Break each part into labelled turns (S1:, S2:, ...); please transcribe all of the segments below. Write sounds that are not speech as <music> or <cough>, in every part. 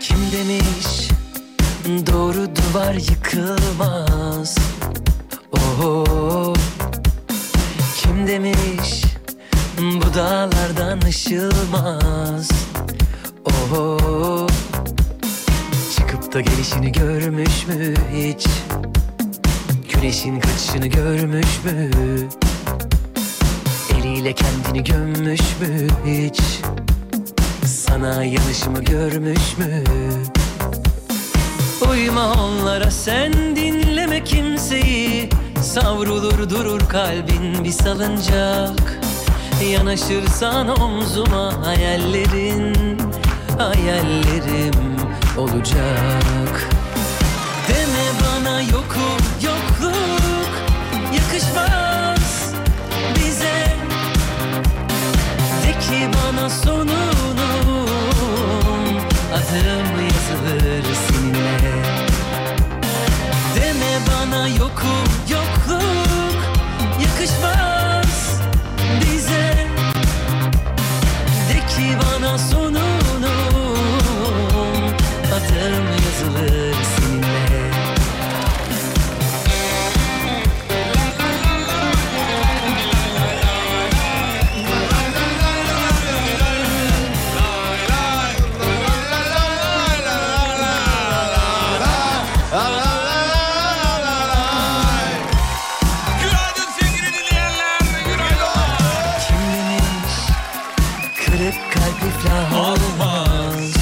S1: Kim demiş doğru duvar yıkılmaz Oho Kim demiş bu dağlardan ışılmaz Oho Çıkıp da gelişini görmüş mü hiç Güneşin kaçışını görmüş mü Eliyle kendini gömmüş mü hiç sana yanışımı görmüş mü? Uyma onlara sen dinleme kimseyi Savrulur durur kalbin bir salıncak Yanaşırsan omzuma hayallerin Hayallerim olacak Deme bana yokum yokluk Yakışmaz bize de ki bana sonunum Adım yazılır seninle Deme bana yokum yokluk Yakışmaz bize De ki bana sonunum Adım yazılır seninle
S2: Günaydın sevgili dinleyenler. Günaydın.
S1: Kim demiş kırık kalp iflah olmaz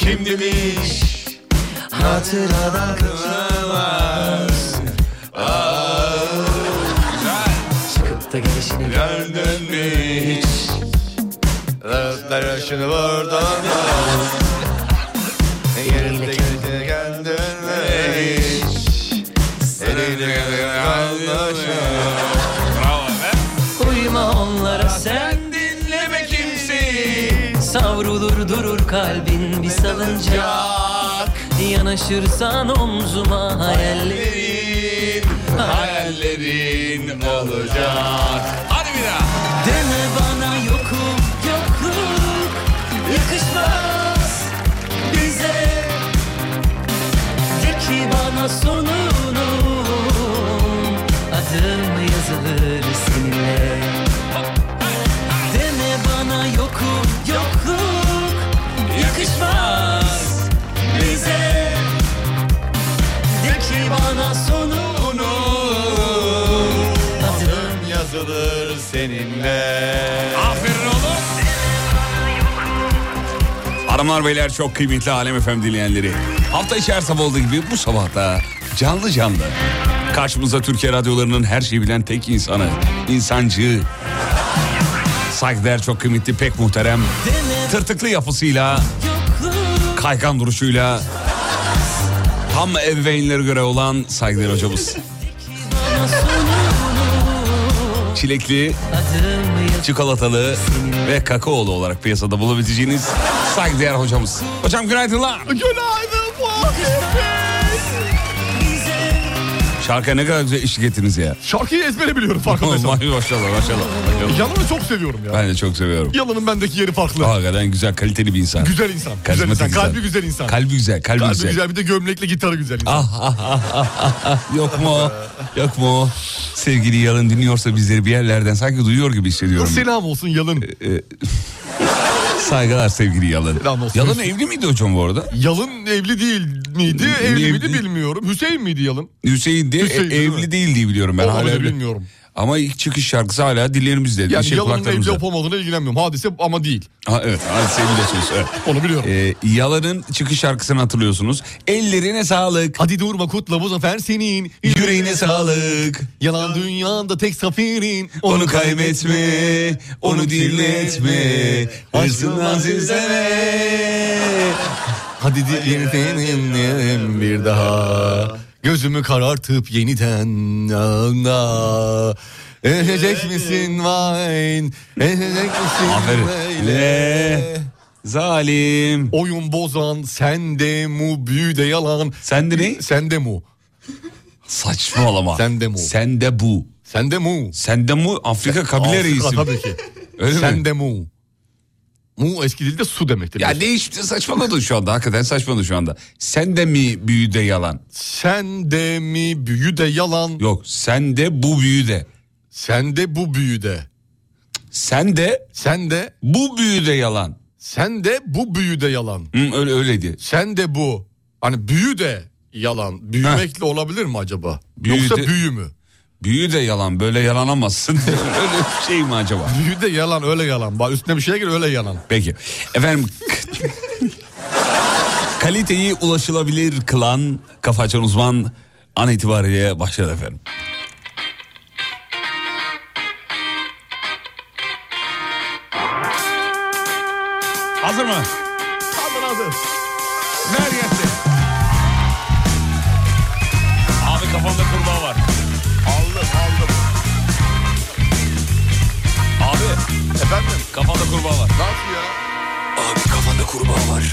S2: Kim demiş?
S1: Hatıralar kaçınılmaz Çıkıp da gelişini
S2: Gördün mü hiç? Laflar aşını vurdun mu? Yerinde gözüne geldin mi hiç? Yerinde gözüne geldin mi? Bravo be.
S1: Uyma onlara sen
S2: Dinleme kimseyi.
S1: Savrulur durur kalbin bir salıncak
S2: Yak.
S1: Yanaşırsan omzuma hayallerim
S2: Hayallerin, hayallerin olacak. Hadi bir daha.
S1: Deme bana yokum yokluk Yakışmaz bize De ki bana sonunum Adım yazılır seninle Deme bana yokum yokluk Yakışmaz bize De ki bana sonunum Adım
S2: Yazılır seninle.
S3: Aferin oğlum. Hanımlar beyler çok kıymetli Alem Efem dinleyenleri. Hafta içi her sabah olduğu gibi bu sabah da canlı canlı. Karşımıza Türkiye radyolarının her şeyi bilen tek insanı, insancı, saygıdeğer çok kıymetli, pek muhterem, tırtıklı yapısıyla, kaykan duruşuyla, tam ebeveynlere göre olan saygıdeğer <laughs> hocamız. Çilekli,
S1: adım
S3: çikolatalı ve kakaolu olarak piyasada bulabileceğiniz saygıdeğer hocamız. Hocam günaydınlar.
S2: Günaydın Fatih
S3: Şarkıya ne kadar güzel eşlik ettiniz
S2: <laughs>
S3: ya.
S2: Şarkıyı ezbere biliyorum farkındaysan.
S3: Maşallah maşallah maşallah.
S2: Yalan'ı çok seviyorum ya.
S3: Ben de
S2: <laughs>
S3: çok seviyorum.
S2: Yalan'ın bendeki yeri farklı.
S3: Hakikaten güzel kaliteli bir insan.
S2: Güzel insan. Güzel
S3: Karizmatik
S2: insan.
S3: insan.
S2: Kalbi güzel insan.
S3: Kalbi güzel, kalbi,
S2: Kalbi
S3: güzel.
S2: güzel bir de gömlekli gitarı güzel insan.
S3: Ah ah ah ah ah ah. Yok mu? o? Yok mu? o? Sevgili Yalın dinliyorsa bizleri bir yerlerden sanki duyuyor gibi hissediyorum. Ee,
S2: Selam olsun
S3: E,
S2: Yalın.
S3: <laughs> Saygılar sevgili Yalın.
S2: Selam olsun.
S3: Yalın evli miydi hocam bu arada?
S2: Yalın evli değil miydi? Evli
S3: Evli-
S2: miydi bilmiyorum. Hüseyin miydi Yalın?
S3: Hüseyin diye
S2: Hüseyin,
S3: e,
S2: değil mi?
S3: evli değil diye biliyorum ben.
S2: Olabilir,
S3: evli.
S2: bilmiyorum.
S3: Ama ilk çıkış şarkısı hala dillerimizde.
S2: Yani
S3: şey
S2: yalanın evli
S3: kulaklarımızda.
S2: olup olmadığına ilgilenmiyorum. Hadise ama değil.
S3: Ha, evet ha, sevgili dostumuz, evet.
S2: Onu biliyorum.
S3: Ee, Yalan'ın çıkış şarkısını hatırlıyorsunuz. Ellerine sağlık.
S2: Hadi durma kutla bu zafer senin.
S3: Yüreğine sağlık.
S2: Yalan dünyanda tek safirin.
S3: Onu kaybetme, onu dinletme. Hırsından zilzele.
S2: Hadi dilim bir daha. Gözümü karartıp yeniden yanına. Ezecek misin vayn? Ezecek misin
S3: Aferin.
S2: böyle?
S3: Zalim.
S2: Oyun bozan sende mu büyü de yalan.
S3: Sende ne?
S2: Sende mu.
S3: Saçmalama.
S2: Sende mu.
S3: Sende bu.
S2: Sende mu.
S3: Sende mu Afrika kabile
S2: Afrika
S3: reisi. mi?
S2: Tabii ki.
S3: Öyle mi?
S2: Sende mu. Mu eski dilde su demektir.
S3: Ya değişti saçmaladın şu anda. Hakikaten saçmaladın şu anda. Sende mi büyüde yalan?
S2: Sende mi büyü de yalan.
S3: Yok sende bu büyüde.
S2: Sende bu büyü de.
S3: Sende
S2: Sende
S3: bu büyüde yalan.
S2: sende bu büyü de yalan.
S3: Hı, öyle öyleydi.
S2: Sende bu. Hani büyü de yalan. Büyümekle olabilir mi acaba?
S3: Büyü
S2: Yoksa
S3: de-
S2: büyü mü?
S3: Büyü de yalan böyle yalanamazsın. <laughs> öyle bir şey mi acaba?
S2: Büyü de yalan öyle yalan. Bak üstüne bir şey gir öyle yalan.
S3: Peki. Efendim kaliteyi ulaşılabilir kılan kafa açan uzman an itibariyle başladı efendim. Hazır mı? Ver gelsin. Abi kafamda kurbağa var. Aldım aldım. Abi
S2: Efendim
S3: kafamda kurbağa var.
S2: nasıl ya?
S4: Abi kafanda kurbağa var.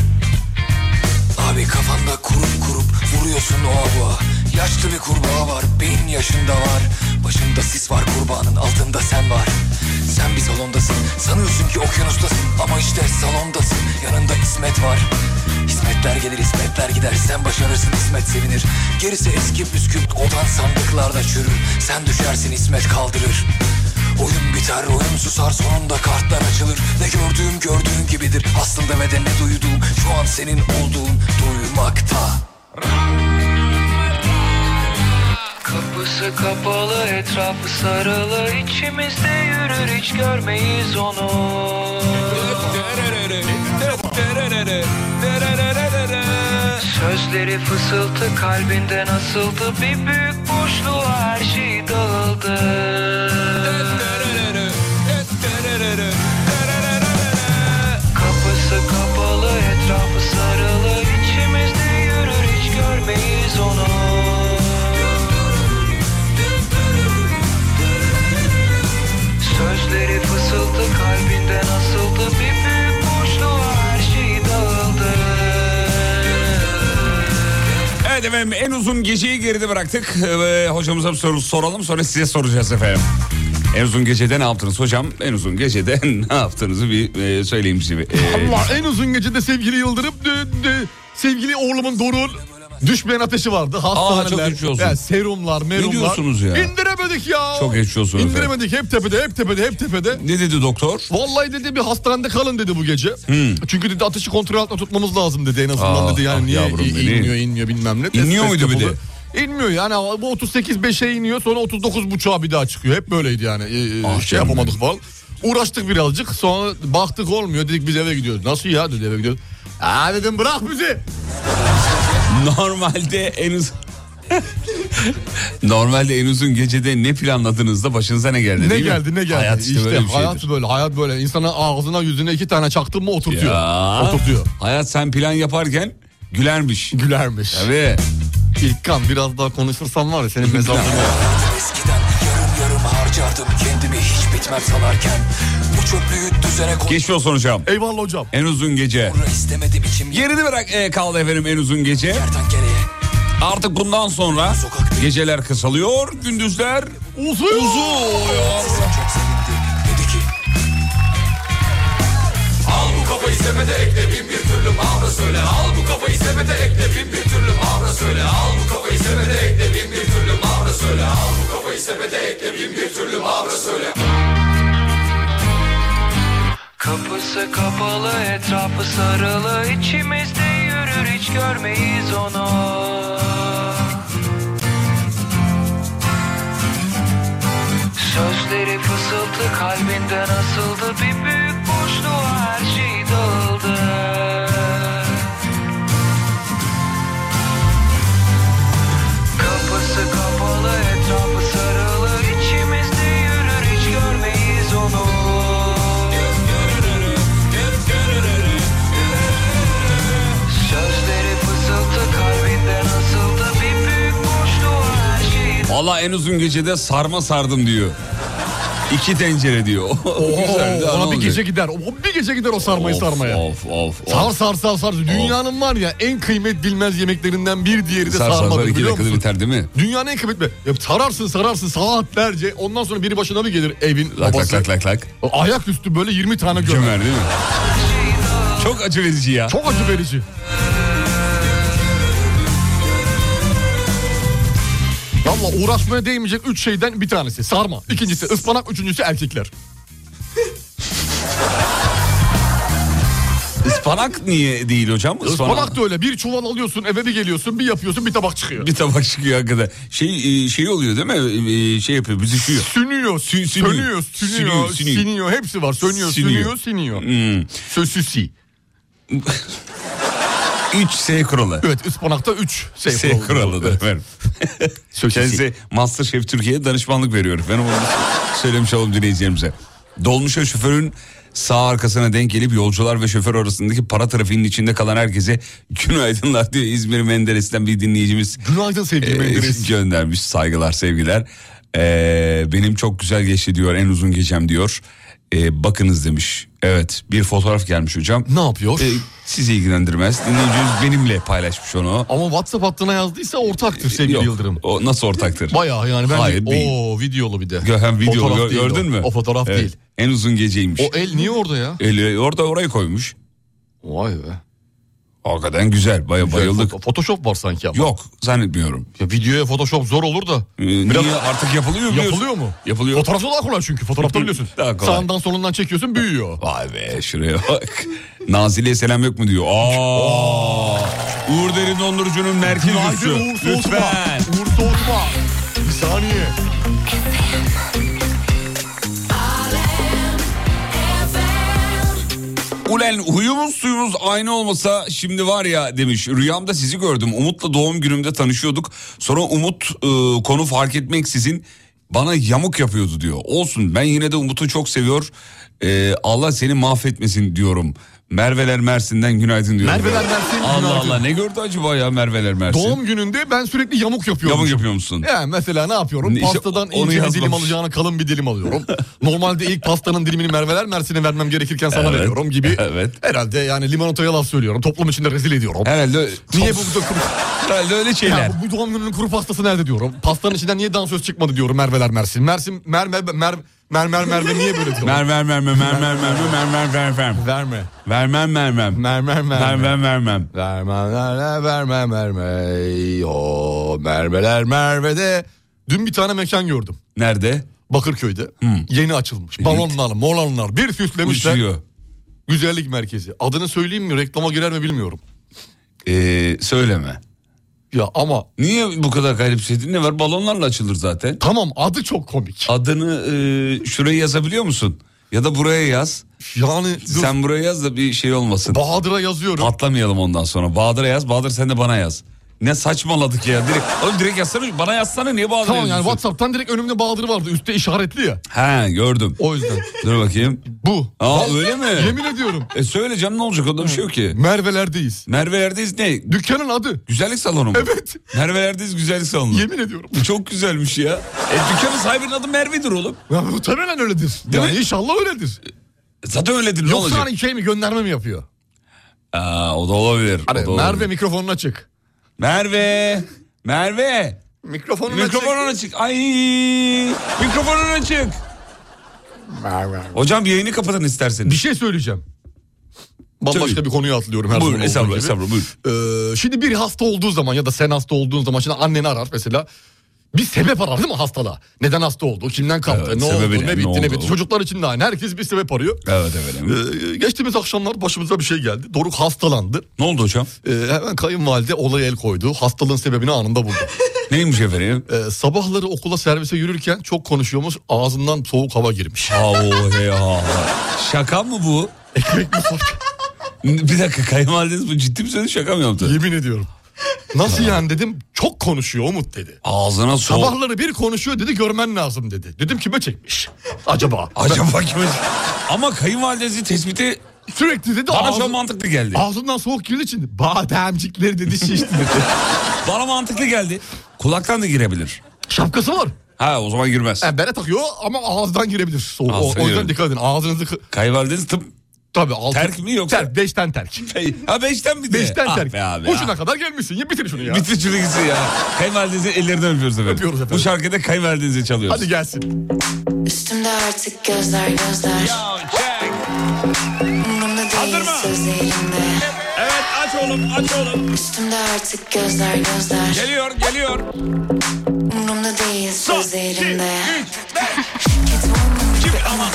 S4: Abi kafanda kurup kurup vuruyorsun o avuğa. Yaşlı bir kurbağa var, beyin yaşında var. Başında sis var kurbağanın, altında sen var. Sen bir salondasın, sanıyorsun ki okyanustasın. Ama işte salondasın, yanında İsmet var. Hizmetler gelir, hizmetler gider. Sen başarırsın, İsmet sevinir. Gerisi eski püskürt, odan sandıklarda çürür. Sen düşersin, İsmet kaldırır. Oyun biter, oyun susar, sonunda kartlar açılır Ne gördüğüm gördüğün gibidir aslında ve de ne duyduğum Şu an senin olduğun duymakta
S5: Kapısı kapalı etrafı sarılı içimizde yürür hiç görmeyiz onu Sözleri fısıltı kalbinde nasıldı bir büyük boşluğa her şey dağıldı Kapısı kapalı etrafı sarılı içimizde yürür hiç görmeyiz onu Sözleri fısıldı kalbinde nasıldı bir büyük boşluğa her şey dağıldı.
S3: Evet efendim en uzun geceyi geride bıraktık. Ee, hocamıza bir soru soralım sonra size soracağız efendim. En uzun gecede ne yaptınız hocam? En uzun gecede <laughs> ne yaptığınızı bir e, söyleyeyim size. Ee,
S2: Allah en uzun gecede sevgili Yıldırım dü- dü- sevgili oğlumun Dorul düşmeyen ateşi vardı. Hastaneler,
S3: çok geçmiş olsun.
S2: yani serumlar, merumlar.
S3: diyorsunuz ya?
S2: İndiremedik ya.
S3: Çok geçmiş olsun efendim.
S2: İndiremedik hep tepede, hep tepede, hep tepede.
S3: ne dedi doktor?
S2: Vallahi dedi bir hastanede kalın dedi bu gece. Çünkü dedi ateşi kontrol altında tutmamız lazım dedi en azından
S3: Ah,
S2: dedi.
S3: Hmm. ah
S2: Yani niye
S3: yavrum
S2: i-
S3: dedi.
S2: inmiyor inmiyor bilmem ne. Test-
S3: İnmiyor
S2: test
S3: muydu bir de?
S2: yapıldı. İnmiyor yani bu 38.5'e iniyor sonra 39.5'a bir daha çıkıyor. Hep böyleydi yani Ee,
S3: Ah
S2: şey
S3: canım
S2: yapamadık
S3: benim.
S2: falan. Uğraştık birazcık sonra baktık olmuyor dedik biz eve gidiyoruz. Nasıl ya dedi eve gidiyoruz. Aa dedim bırak bizi.
S3: Normalde en uzun... <laughs> Normalde en uzun gecede ne planladınız da başınıza ne geldi
S2: Ne
S3: değil mi?
S2: geldi ne geldi.
S3: Hayat işte, böyle bir
S2: hayat
S3: şeydir.
S2: böyle hayat böyle. İnsana ağzına yüzüne iki tane çaktın mı oturtuyor.
S3: Ya.
S2: Oturtuyor.
S3: Hayat sen plan yaparken gülermiş.
S2: Gülermiş.
S3: Tabii.
S2: İlkan biraz daha konuşursan var ya senin <laughs> mezarlığına.
S4: Eskiden yarım yarım harcardım kendimi hiç bitmez salarken Bu çöplüğü düzene koy
S3: Geçmiş olsun hocam.
S2: Eyvallah hocam.
S3: En uzun gece.
S4: istemedim içim
S3: Geride bırak e, kaldı efendim en uzun gece.
S4: kertenkeleye
S3: Artık bundan sonra geceler kısalıyor, gündüzler
S2: Uzun.
S3: uzuyor.
S4: Sesim çok sevindi dedi ki
S5: Kapısı kapalı etrafı sarılı içimizde yürür hiç görmeyiz onu. kalbimden asıldı bir büyük boşluğa her şey dağıldı Kapısı kapalı etrafı sarılı içimizde yürür hiç görmeyiz onu Sözleri fısıltı kalbinden asıldı bir büyük boşluğa her şey
S3: Valla en uzun gecede sarma sardım diyor. İki tencere diyor. <laughs> Güzel, daha
S2: Oo,
S3: ne
S2: ona bir
S3: olacak?
S2: gece gider. O bir gece gider o sarmayı
S3: Of,
S2: sarmaya.
S3: Of of of.
S2: Sar sar sar sar. Dünyanın var ya en kıymet bilmez yemeklerinden bir diğeri de
S3: Sar sar sar
S2: sarmadır
S3: iki
S2: biliyor
S3: dakikada
S2: musun?
S3: biter değil mi?
S2: Dünyanın en kıymetli. Ya sararsın sararsın saatlerce. Ondan sonra biri başına bir gelir evin
S3: Lak lak
S2: babası.
S3: lak lak lak.
S2: Ayaküstü böyle 20 tane gömer.
S3: Cömert değil mi? Çok acı verici ya.
S2: Çok acı verici. Valla uğraşmaya değmeyecek üç şeyden bir tanesi. Sarma. İkincisi ıspanak. Üçüncüsü erkekler.
S3: Ispanak niye değil hocam?
S2: Ispanak, da öyle. Bir çuval alıyorsun eve bir geliyorsun bir yapıyorsun bir tabak çıkıyor.
S3: Bir tabak çıkıyor hakikaten. Şey e, şey oluyor değil mi? E, e, Şey yapıyor, büzüşüyor.
S2: Sünüyor,
S3: Sü- sünüyor.
S2: sönüyor, sünüyor,
S3: Sünüyor, sünüyor.
S2: siniyor. Hepsi var. Sönüyor,
S3: Sünüyor. Hmm.
S2: sünüyor, siniyor. Sözsüsi.
S3: 3 S kuralı.
S2: Evet ıspanakta 3 şey
S3: S kuralı
S2: <laughs>
S3: da efendim. Kendisi Masterchef Türkiye'ye danışmanlık veriyor efendim. Onu söylemiş olalım dinleyicilerimize. Dolmuşa şoförün sağ arkasına denk gelip yolcular ve şoför arasındaki para trafiğinin içinde kalan herkese günaydınlar diyor İzmir Menderes'ten bir dinleyicimiz.
S2: Günaydın sevgili
S3: Ee,
S2: Menderes.
S3: göndermiş saygılar sevgiler. Ee, benim çok güzel geçti diyor en uzun gecem diyor. Ee, bakınız demiş. Evet bir fotoğraf gelmiş hocam.
S2: Ne yapıyor?
S3: Ee, sizi ilgilendirmez. Dinleyicimiz benimle paylaşmış onu.
S2: Ama WhatsApp hattına yazdıysa ortaktır sevgili
S3: Yok,
S2: Yıldırım.
S3: O nasıl ortaktır?
S2: Bayağı yani ben
S3: Hayır, değil.
S2: o videolu bir de.
S3: Göhen video
S2: Fotoğraf
S3: gö-
S2: değil
S3: gördün
S2: o.
S3: mü?
S2: O fotoğraf
S3: Evet,
S2: değil.
S3: En uzun geceymiş.
S2: O el niye orada ya?
S3: Eli orada oraya koymuş.
S2: Vay be.
S3: Hakikaten güzel. Baya bayıldık.
S2: Fo- Photoshop var sanki ama.
S3: Yok zannetmiyorum.
S2: Ya videoya Photoshop zor olur da.
S3: Ee, niye artık yapılıyor mu?
S2: Yapılıyor mu?
S3: Yapılıyor.
S2: Fotoğrafta daha kolay çünkü. Fotoğrafta biliyorsun.
S3: Daha kolay.
S2: Sağından solundan çekiyorsun büyüyor.
S3: Vay be şuraya bak. Nazile'ye selam yok mu diyor. Aa! Uğur Derin Dondurucu'nun merkez üssü.
S2: Günaydın Uğur Soğutma.
S3: Lütfen.
S2: Uğur Soğutma. Bir saniye.
S3: Ulen huyumuz suyumuz aynı olmasa şimdi var ya demiş. Rüyamda sizi gördüm. Umut'la doğum günümde tanışıyorduk. Sonra Umut e, konu fark etmeksizin bana yamuk yapıyordu diyor. Olsun ben yine de Umut'u çok seviyor. E, Allah seni mahvetmesin diyorum. Merveler Mersin'den günaydın diyor.
S2: Merveler Mersin,
S3: Allah
S2: günaydın.
S3: Allah ne gördü acaba ya Merveler Mersin?
S2: Doğum gününde ben sürekli yamuk yapıyorum.
S3: Yamuk yapıyor musun?
S2: Yani mesela ne yapıyorum?
S3: İşte
S2: Pastadan
S3: onu
S2: ince bir dilim
S3: yazmamış.
S2: alacağına kalın bir dilim
S3: <laughs>
S2: alıyorum. Normalde ilk pastanın dilimini Merveler Mersin'e vermem gerekirken sana
S3: Evet,
S2: veriyorum gibi.
S3: evet.
S2: Herhalde yani limonataya laf söylüyorum. Toplum içinde rezil ediyorum.
S3: Herhalde
S2: Niye bu, bu, kuru-
S3: Herhalde öyle <laughs> şeyler.
S2: Ya bu, bu doğum gününün kuru pastası nerede diyorum. Pastanın içinden niye dansöz çıkmadı diyorum Merveler Mersin. Mersin mer mer mer mer mer, merve niye böyle diyorum.
S3: Mer mer mer mer mer mer mer mer mer mer
S2: verme.
S3: Vermem vermem.
S2: Mer mer mer. mer.
S3: Vermem vermem.
S2: Vermem verme verme merme. O mermeler mervede. Dün bir tane mekan gördüm.
S3: Nerede?
S2: Bakırköy'de. Yeni açılmış. Balonlar, molanlar bir süslemişler.
S3: Uçuyor.
S2: Güzellik merkezi. Adını söyleyeyim mi? Reklama girer mi bilmiyorum.
S3: Ee, söyleme.
S2: Ya ama
S3: Niye bu kadar garipsedin? Ne var? Balonlarla açılır zaten.
S2: tamam adı çok komik.
S3: Adını e, şuraya yazabiliyor musun? Ya da buraya yaz.
S2: Yani dur,
S3: Sen buraya yaz da bir şey olmasın.
S2: Bahadır'a yazıyorum.
S3: Patlamayalım ondan sonra. Bahadır'a yaz. Bahadır sen de bana yaz. Ne saçmaladık ya. Direkt, oğlum direkt yazsana. Bana yazsana. Niye Bahadır'a
S2: Tamam yani
S3: yazıyorsun?
S2: Whatsapp'tan direkt önümde Bahadır vardı. Üstte işaretli ya.
S3: He gördüm.
S2: O yüzden.
S3: Dur bakayım.
S2: Bu.
S3: Aa
S2: Vallahi
S3: öyle mi?
S2: Yemin ediyorum.
S3: E söyle canım ne olacak onda bir şey yok ki.
S2: Merve'lerdeyiz.
S3: Merve Erdeyiz ne?
S2: Dükkanın adı.
S3: Güzellik salonu mu?
S2: Evet.
S3: Merve Erdeyiz güzellik salonu.
S2: Yemin ediyorum.
S3: Çok güzelmiş ya. E dükkanın sahibinin adı Merve'dir oğlum.
S2: Ya muhtemelen öyledir.
S3: Değil
S2: yani
S3: mi?
S2: inşallah öyledir.
S3: E, Zaten öyledir ne
S2: Yoksa
S3: olacak?
S2: hani şey mi gönderme mi yapıyor?
S3: Aa, o da olabilir. o
S2: Hani
S3: da
S2: Merve
S3: olabilir.
S2: mikrofonun açık.
S3: Merve. Merve.
S2: Mikrofonun
S3: Mikrofonun açık. Ay. Mikrofonun açık. Hocam yayını kapatın
S2: Bir
S3: isterseniz.
S2: şey söyleyeceğim. Bambaşka
S3: Söyle.
S2: bir konuya atlıyorum her
S3: Buyurun
S2: zaman olduğu
S3: estağfurullah
S2: şey gibi.
S3: estağfurullah buyurun.
S2: Ee, şimdi bir hasta olduğu zaman ya da sen hasta olduğun zaman şimdi anneni arar mesela. Bir sebep arar değil mi hastalığa? Neden hasta oldu? Kimden kaptı?
S3: Evet,
S2: ne
S3: sebebi
S2: oldu?
S3: ne,
S2: Ne
S3: ne
S2: bitti? Ne,
S3: oldu?
S2: bitti? Çocuklar için de aynı. Herkes bir sebep arıyor.
S3: Evet efendim.
S2: Ee, geçtiğimiz akşamlar başımıza bir şey geldi. Doruk hastalandı.
S3: Ne oldu hocam? <laughs>
S2: Ee, hemen kayınvalide olaya el koydu. Hastalığın sebebini anında buldu. <laughs>
S3: Neymiş efendim?
S2: Ee, sabahları okula servise yürürken çok konuşuyormuş ağzından soğuk hava
S3: <laughs>
S2: girmiş.
S3: Avo hey ha. Şaka mı bu?
S2: Ekmek mi sor-
S3: Bir dakika kayınvalideniz bu ciddi bir söyledi şaka mı yaptı?
S2: Yemin ediyorum. Nasıl yani dedim çok konuşuyor Umut dedi.
S3: Ağzına soğuk.
S2: Sabahları bir konuşuyor dedi görmen lazım dedi. Dedim kime çekmiş acaba?
S3: <laughs> Acaba kime? Ama kayınvalidesi tespiti
S2: Sürekli dedi
S3: bana şu
S2: ağzı-
S3: an mantıklı geldi.
S2: ağzından soğuk girdiği için bademcikleri dedi şişti
S3: <laughs>
S2: dedi.
S3: Bana mantıklı geldi. Kulaktan da girebilir.
S2: Şapkası var.
S3: Ha o zaman girmez.
S2: Yani bere takıyor ama ağızdan girebilir. Soğuk. O,
S3: Ağızdan
S2: o yüzden
S3: girebilir.
S2: dikkat edin ağzınızı... kı-
S3: Kayınvalideniz tıp.
S2: Tabii altı...
S3: Terk mi yoksa?
S2: Terk. Beşten
S3: <laughs>
S2: terk.
S3: Ha beşten bir de.
S2: Beşten
S3: ah
S2: terk.
S3: Be abi,
S2: Ucuna
S3: ah.
S2: kadar gelmişsin. Ya bitir şunu ya.
S3: Bitir şunu gitsin ya. Kayınvalidenizin ellerinden öpüyoruz efendim.
S2: Öpüyoruz efendim.
S3: Bu şarkıda da kayınvalidenize çalıyoruz.
S2: Hadi gelsin.
S5: Üstümde artık gözler gözler
S3: Ya, çek.
S5: Umrumda değil
S3: Kaldırma.
S5: söz elinde
S3: Evet aç oğlum aç oğlum.
S5: Üstümde artık gözler gözler
S3: Geliyor geliyor.
S5: Umrumda değil
S3: Son,
S5: söz
S3: iki,
S5: elinde
S3: üç, beş.
S5: Catwoman
S3: Kim ama?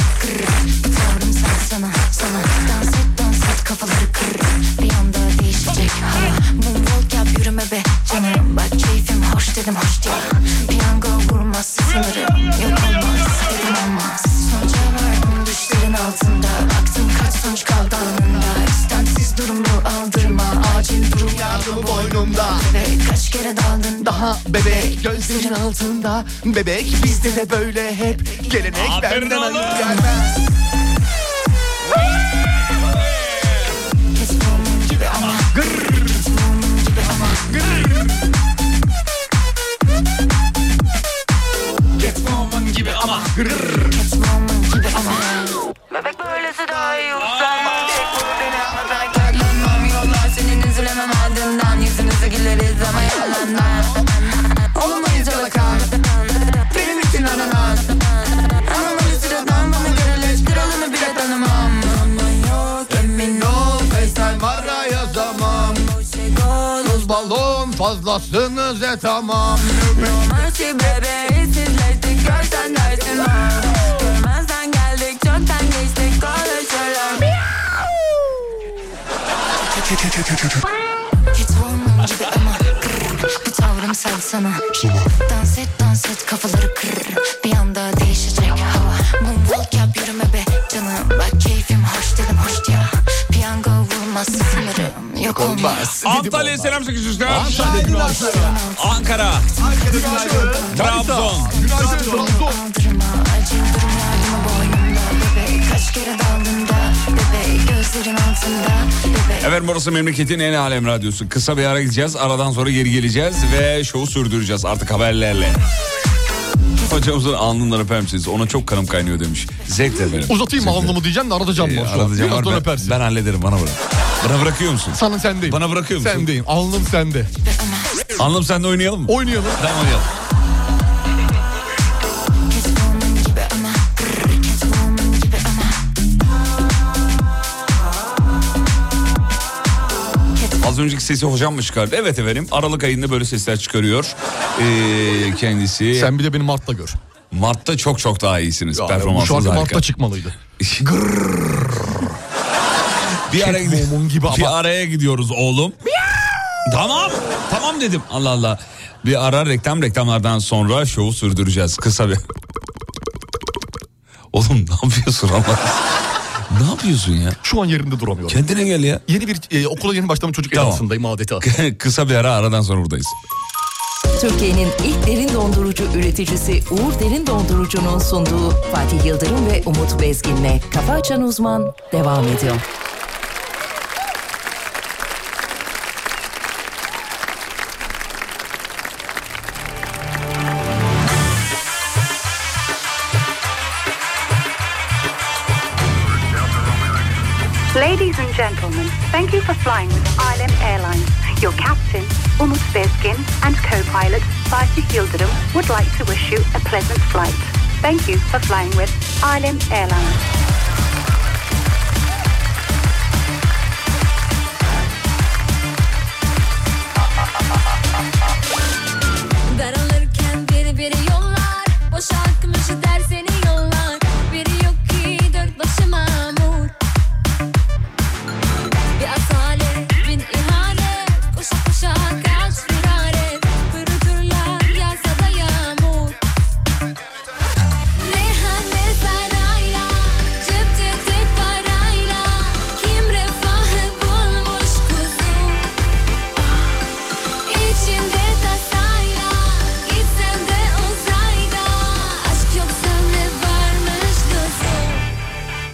S5: tanrım sen sana sana Dans et dans et kafaları kır Bir anda değişecek hava Moonwalk yap yürüme be canım Bak keyfim hoş dedim hoş değil Piyango vurmaz sınırı Yok olmaz dedim olmaz Sonuca vardım düşlerin altında Baktım kaç sonuç kaldı alnında İstemsiz durumu aldırma Acil durum yardımı boynumda Bebek kaç kere daldın daha
S6: Bebek gözlerin altında Bebek bizde de böyle hep Gelenek
S3: Aferin
S6: benden
S3: oğlum.
S6: ayıp gelmez
S5: Catwoman gibi ama Catwoman gibi ama
S3: Catwoman gibi ama.
S5: Catwoman gibi ama
S7: Bebek böylesi daha iyi uslanma Tek bu denemeden gel Dönmem yollar senin üzülemem ardından Yüzünüzü güleriz ama yalandan Olamayız yalakan Benim için ananas Anlamalı sıradan bana göre leş Kralını bile tanımam Ama yok emin ol
S6: Faysal var ya yazamam Tuz balon fazlasınız e tamam
S7: Mercy baby işsizleştik görsen dersin var Görmezden geldik çoktan geçtik konuşalım
S5: Catwoman gibi ama kır. Bu tavrım sen sana Dans et dans et kafaları kır Bir anda değişecek hava Moonwalk yap yürüme be canım Bak keyfim hoş dedim hoş ya Piyango vurmaz sınırım Yok olmaz
S3: Antalya selam çekişmişler. Ankara. Trabzon.
S5: Aldırma acil durum yardımı boynumda Bebek kaç kere daldın da Bebek gözlerin altında Bebek
S3: Efendim burası memleketin en alem radyosu. Kısa bir ara gideceğiz. Aradan sonra geri geleceğiz ve şovu sürdüreceğiz artık haberlerle. Hocamızın alnından öper misiniz? Ona çok kanım kaynıyor demiş. Zevkle efendim.
S2: Uzatayım mı alnımı diyeceğim de aratacağım var şu an.
S3: Aradacağım
S2: Birazdan
S3: var. Ben,
S2: öpersin.
S3: ben hallederim bana bırak. Bana bırakıyor musun?
S2: Sana sendeyim.
S3: Bana bırakıyor musun?
S2: Sendeyim. Alnım sende.
S3: Anlam sen de oynayalım mı?
S2: Oynayalım.
S3: Tamam oynayalım.
S5: Catwoman gibi ama kır. Catwoman gibi ama
S3: Az önceki sesi hocam mı çıkardı? Evet efendim. Aralık ayında böyle sesler çıkarıyor. Ee, kendisi.
S2: Sen bir de beni Mart'ta gör.
S3: Mart'ta çok çok daha iyisiniz.
S2: Ya, bu
S3: Performansınız
S2: şarkı
S3: harika.
S2: Mart'ta çıkmalıydı.
S3: Bir araya, gidi-
S2: Catwoman gibi ama.
S3: bir araya gidiyoruz oğlum. tamam. Tamam dedim. Allah Allah. Bir ara reklam reklamlardan sonra şovu sürdüreceğiz. Kısa bir... Oğlum ne yapıyorsun ama? ne yapıyorsun ya?
S2: Şu an yerimde duramıyorum.
S3: Kendine gel ya. <laughs>
S2: Yeni bir e, okula yeni başlamış çocuk
S3: Tamam.
S2: edasındayım adeta.
S3: Kısa bir ara aradan sonra buradayız.
S8: Türkiye'nin ilk derin dondurucu üreticisi Uğur Derin Dondurucu'nun sunduğu Fatih Yıldırım ve Umut Bezgin'le Kafa Açan Uzman devam ediyor.
S9: Ladies and gentlemen, thank you for flying with ILM Airlines. Your captain, Umut Bezgin, and co-pilot, Fatih Yıldırım, would like to wish you a pleasant flight. Thank you for flying with ILM Airlines.
S10: Ben alırken biri biri yollar Boşaltmış dersini yollar Biri yok ki dört başı mamur Bir asalet bin ihale Koşa koşa kaç firare Pırıtırlar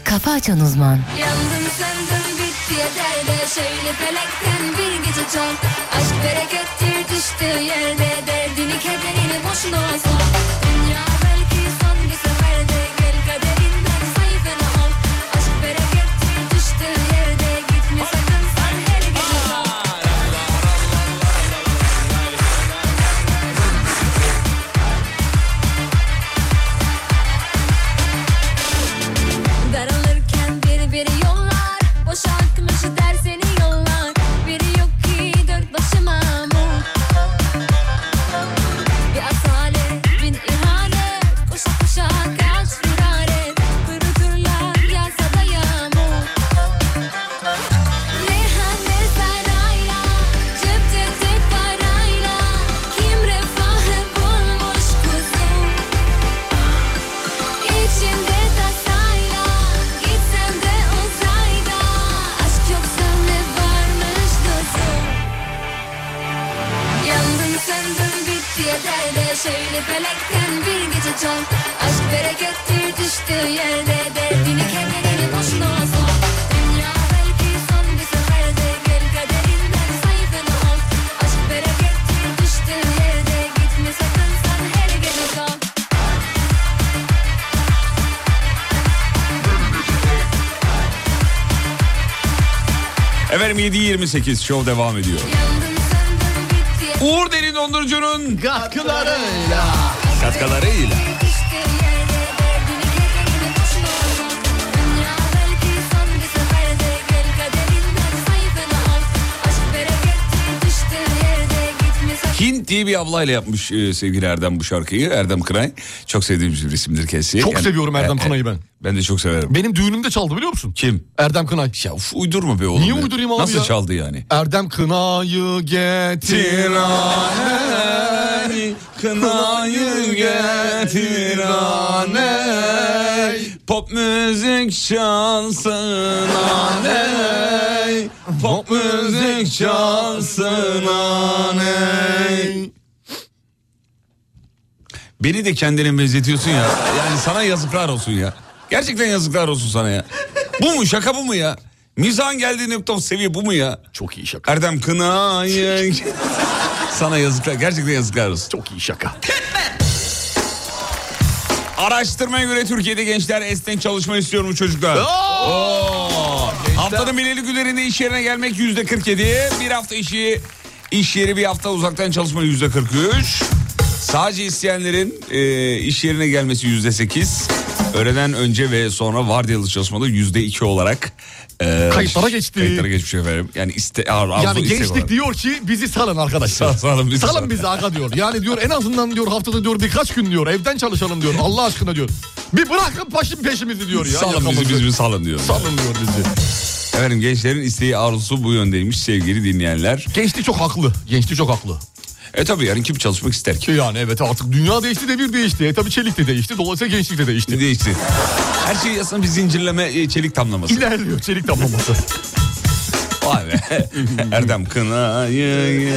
S8: Kafa Açan Uzman.
S10: Yandım söndüm bitti yeter de Şöyle felekten bir gece çal Aşk berekettir düştüğü yerde Derdini kederini boşuna sal Dünya belki son bir seferde Gel kaderinden sayfana al Aşk berekettir düştüğü yerde Gitme sakın sen her gece kal Daralırken biri biri yollar Boşaltmış der seni yollar Biri yok ki dört başıma mum Bir asalet bin ihanet Koşa koşa kaç firaret Kuruturlar yasa da yağmur Reyhan'de sarayla Cep cep cep parayla Kim refahı bulmuş kuzum İçinde tasayla gitsem de uzayda aşk yoksa ne varmış dostum Yandım söndüm bitti yeter de şöyle felekten bir gece çal Aşk berekettir düştüğü yerde derdini kederini boşuna sal Dünya belki son bir seferde gel kaderinden sayfana al Aşk berekettir düştüğü yerde gitme sakın sen her gece kal
S3: Efendim 7.28 şov devam ediyor. Uğur Derin Dondurucu'nun
S2: Katkılarıyla.
S3: katkılarıyla. Hint diye bir ablayla yapmış e, sevgili Erdem bu şarkıyı. Erdem Kınay. Çok sevdiğimiz bir isimdir kendisi.
S2: Çok
S3: Yani-
S2: seviyorum Erdem
S3: E, e,
S2: Kınay'ı ben.
S3: Ben de çok severim.
S2: Benim düğünümde çaldı biliyor musun?
S3: Kim?
S2: Erdem Kınay.
S3: Ya uf, uydurma be oğlum.
S2: Niye
S3: ya.
S2: uydurayım abi
S3: Nasıl
S2: ya?
S3: çaldı yani?
S2: Erdem Kınay'ı getir.
S3: Kınayı getir aney Pop müzik çalsın aney Pop müzik çalsın aney Beni de kendine benzetiyorsun ya. Yani sana yazıklar olsun ya. Gerçekten yazıklar olsun sana ya. Bu mu şaka bu mu ya? Mizahın geldiği nokta seviye bu mu ya?
S2: Çok iyi şaka. <laughs>
S3: Erdem Kınay'ı Sana yazıklar gerçekten yazıklar olsun.
S2: Çok iyi şaka.
S3: Araştırmaya göre Türkiye'de gençler esnek çalışma istiyormuş çocuklar. Oo! Haftanın belirli günlerinde iş yerine gelmek yüzde 47. Bir hafta işi, iş yeri bir hafta uzaktan çalışma yüzde 43. Sadece isteyenlerin e, iş yerine gelmesi yüzde 8. Öğleden önce ve sonra vardiyalı çalışmada yüzde 2 olarak e,
S2: Kayıtlara geçti.
S3: Kayıtlara geçmiş efendim. Yani iste, arzu
S2: Yani
S3: istek
S2: gençlik
S3: olarak.
S2: diyor ki bizi salın arkadaşlar.
S3: Sal- <laughs> salın bizi,
S2: Salın
S3: salın.
S2: bizi aga diyor. Yani diyor en azından diyor haftada diyor birkaç gün diyor evden çalışalım diyor. Allah aşkına diyor. Bir bırakın başın peşimizi diyor ya.
S3: Salın bizi,
S2: yakamızı.
S3: bizi, bizi salın diyor.
S2: Salın diyor bizi.
S3: Efendim gençlerin isteği arzusu bu yöndeymiş sevgili dinleyenler.
S2: Gençlik çok haklı. Gençlik çok haklı.
S3: E tabii yani kim çalışmak ister ki?
S2: Ki yani evet artık dünya değişti devir değişti. E tabi çelik de değişti. Dolayısıyla gençlik de değişti.
S3: Ne değişti? Her şey aslında bir zincirleme e, çelik tamlaması.
S2: İlerliyor çelik damlaması. <laughs>
S3: Vay be. Erdem Kınay'ı.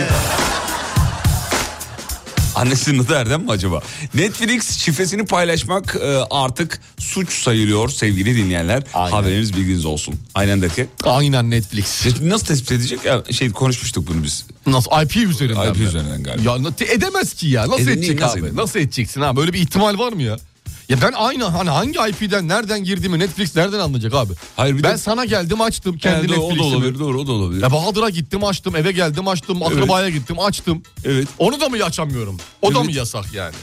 S3: Annesinin adı Erdem mi acaba? Netflix şifresini paylaşmak e, artık suç sayılıyor sevgili dinleyenler. Haberiniz bilginiz olsun. Aynen de ki.
S2: Aynen Netflix.
S3: Nasıl tespit edecek? Ya, şey konuşmuştuk bunu biz.
S2: Nasıl IP üzerinden
S3: IP
S2: mi?
S3: üzerinden galiba.
S2: Ya na- edemez ki ya. Nasıl
S3: Edin-
S2: edecek
S3: nasıl
S2: abi?
S3: edin?
S2: Nasıl edeceksin ha? Böyle bir ihtimal var mı ya? Ya ben aynı hani hangi IP'den nereden girdiğimi Netflix nereden anlayacak abi?
S3: Hayır, bir
S2: ben
S3: de-
S2: sana geldim açtım kendi
S3: Yani doğru, o da
S2: Netflix'imi.
S3: olabilir. Doğru o da olabilir.
S2: Ya Bahadır'a gittim açtım eve geldim açtım akrabaya gittim açtım.
S3: Evet.
S2: Onu da mı açamıyorum? O da
S3: Evet.
S2: mı yasak yani?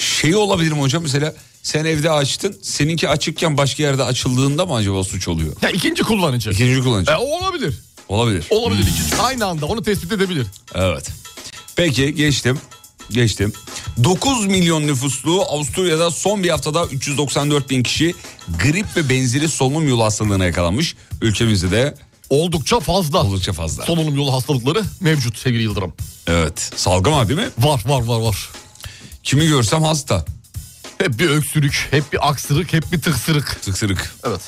S3: Şey olabilir mi hocam mesela sen evde açtın seninki açıkken başka yerde açıldığında mı acaba suç oluyor?
S2: Ya ikinci kullanıcı.
S3: İkinci Hmm. kullanıcı.
S2: E, o olabilir.
S3: Olabilir.
S2: Olabilir. İkinci- Aynı anda onu tespit edebilir.
S3: Evet. Peki geçtim. Geçtim. 9 milyon nüfuslu Avusturya'da son bir haftada 394 bin kişi grip ve benzeri solunum yolu hastalığına yakalanmış. Ülkemizde de
S2: Oldukça fazla.
S3: oldukça fazla.
S2: Solunum yolu hastalıkları mevcut sevgili Yıldırım.
S3: Evet. Salgın var değil mi?
S2: Var var var var.
S3: Kimi görsem hasta.
S2: Hep bir öksürük, hep bir aksırık, hep bir tıksırık.
S3: Tıksırık.
S2: Evet.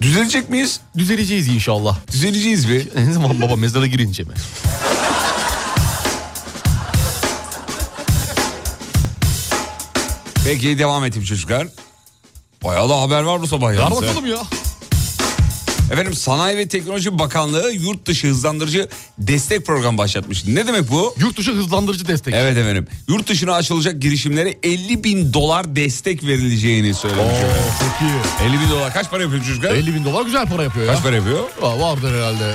S3: Düzelecek miyiz?
S2: Düzeleceğiz
S3: <laughs>
S2: inşallah.
S3: Düzeleceğiz bir.
S2: Ne zaman baba mezara girince mi?
S3: Peki devam edeyim çocuklar. Bayağı da haber var bu sabah
S2: Ver
S3: yalnız.
S2: bakalım ya.
S3: Efendim Sanayi ve Teknoloji Bakanlığı yurt dışı hızlandırıcı destek programı başlatmış. Ne demek bu?
S2: Yurt dışı hızlandırıcı destek.
S3: Evet efendim. Yurt dışına açılacak girişimlere 50 bin dolar destek verileceğini söylemiş. efendim.
S2: Çok iyi.
S3: 50 bin dolar kaç para yapıyor çocuklar?
S2: 50 bin dolar güzel para yapıyor ya.
S3: Kaç para yapıyor?
S2: Aa, vardır herhalde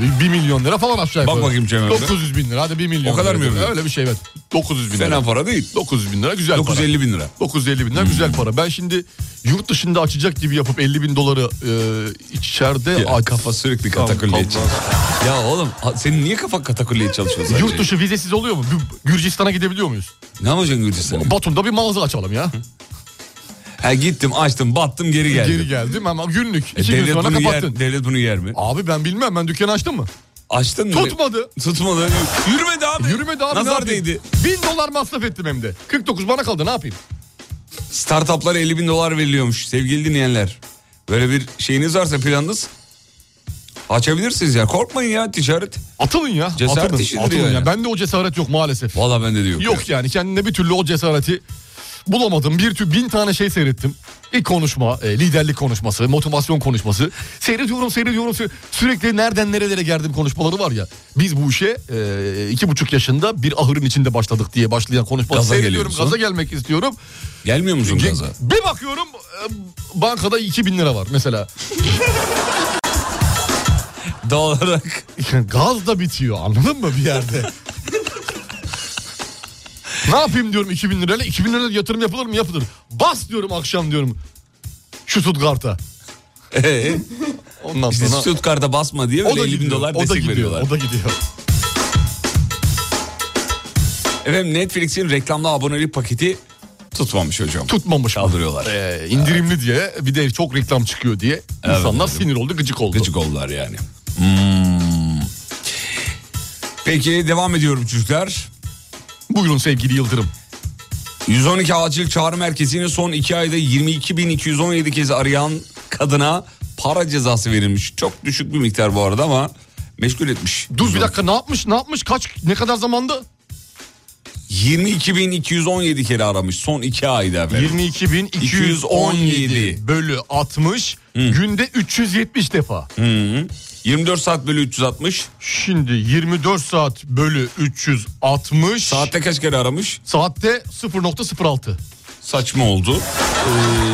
S2: e, 1 milyon lira falan aşağı
S3: Bak
S2: yukarı.
S3: bakayım Cem Emre.
S2: 900 bin lira hadi 1 milyon.
S3: O kadar
S2: lira.
S3: mı yapıyor?
S2: Öyle bir şey evet. 900 bin lira.
S3: Fena para değil.
S2: 900 bin lira güzel
S3: 950 bin lira.
S2: para. 950
S3: Hmm.
S2: bin lira güzel para. Ben şimdi yurt dışında açacak gibi yapıp 50 bin doları e, içeride...
S3: Ya,
S2: aç-
S3: kafa sürekli
S2: Tamam,
S3: katakulli
S2: tamam.
S3: edecek. Ya oğlum a- senin niye kafa katakulliye çalışıyor sadece?
S2: Yurt dışı vizesiz oluyor mu? Gü- Gürcistan'a gidebiliyor muyuz?
S3: Ne yapacaksın yurt dışına?
S2: Batum'da bir mağaza açalım ya.
S3: Ha gittim açtım battım geri geldim.
S2: Geri geldim ama günlük.
S3: E,
S2: İki gün
S3: devlet,
S2: sonra
S3: bunu
S2: kapattın.
S3: yer, devlet bunu yer mi?
S2: Abi ben bilmem ben dükkanı açtım mı?
S3: Açtın mı?
S2: Tutmadı.
S3: Tutmadı. Yürümedi abi.
S2: Yürümedi abi
S3: Nazar
S2: ne yapayım?
S3: değdi.
S2: 1000 dolar masraf ettim hem de. 49 bana kaldı ne yapayım?
S3: Startuplara 50 bin dolar veriliyormuş sevgili dinleyenler. Böyle bir şeyiniz varsa planınız açabilirsiniz ya. Korkmayın ya ticaret.
S2: Atılın ya.
S3: Cesaret
S2: atılın.
S3: işidir
S2: atılın
S3: yani.
S2: ya. Bende o cesaret yok maalesef.
S3: Valla bende de yok.
S2: Yok yani kendine bir türlü o cesareti bulamadım. Bir tür bin tane şey seyrettim. İlk konuşma, e, liderlik konuşması, motivasyon konuşması. Seyrediyorum, seyrediyorum. seyre- Sürekli nereden nerelere geldim konuşmaları var ya. Biz bu işe e, iki buçuk yaşında bir ahırın içinde başladık diye başlayan konuşmaları
S3: Gaza
S2: seyrediyorum.
S3: geliyorsun.
S2: Gaza gelmek istiyorum.
S3: Gelmiyor musun gaza?
S2: Bir bakıyorum e, bankada 2000 lira var mesela.
S3: Doğal olarak. <laughs>
S2: Gaz da bitiyor anladın mı bir yerde? ne yapayım diyorum 2000 lirayla 2000 lirayla yatırım yapılır mı yapılır. Bas diyorum akşam diyorum şu Stuttgart'a.
S3: Ee,
S2: Ondan
S3: işte
S2: sonra
S3: Stuttgart'a basma diye böyle 50 bin dolar
S2: o da
S3: destek
S2: gidiyor,
S3: veriyorlar.
S2: o da gidiyor.
S3: Efendim Netflix'in reklamlı abonelik paketi tutmamış hocam.
S2: Tutmamış mı?
S3: Kaldırıyorlar.
S2: Ee, indirimli diye bir de çok reklam çıkıyor diye insanlar sinir oldu gıcık oldu.
S3: Gıcık oldular yani. Hmm. Peki devam ediyorum çocuklar.
S2: Buyurun sevgili Yıldırım.
S3: 112 Acil Çağrı Merkezi'nin son 2 ayda 22.217 kez arayan kadına para cezası verilmiş. Çok düşük bir miktar bu arada ama meşgul etmiş.
S2: Dur bir dakika ne yapmış ne yapmış kaç ne kadar zamanda?
S3: 22.217 kere aramış son 2 ayda efendim.
S2: 22.217
S3: 217
S2: bölü 60 günde 370 defa.
S3: 24 saat bölü 360.
S2: Şimdi 24 saat bölü 360
S3: Saatte kaç kere aramış?
S2: saatte 0.06.
S3: Saçma oldu.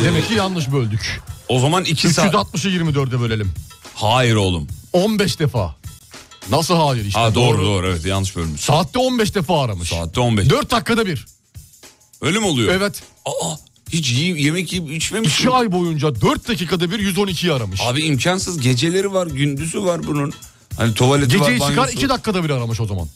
S2: Demek ki yanlış böldük.
S3: O zaman 2 saat.
S2: 360'ı 24'e bölelim.
S3: Hayır oğlum.
S2: 15 defa. Nasıl hayır işte.
S3: Ha doğru doğru evet yanlış bölmüş.
S2: Saatte 15 defa aramış.
S3: Saatte 15.
S2: 4 dakikada bir.
S3: Öyle mi oluyor?
S2: Evet.
S3: Aa hiç yiyip yemek yiyip içmemiş.
S2: 2
S3: mi?
S2: ay boyunca 4 dakikada bir 112'yi aramış.
S3: Abi imkansız geceleri var gündüzü var bunun. Hani tuvaleti
S2: Geceyi
S3: var
S2: çıkar
S3: banyosu.
S2: 2 dakikada bir aramış o zaman.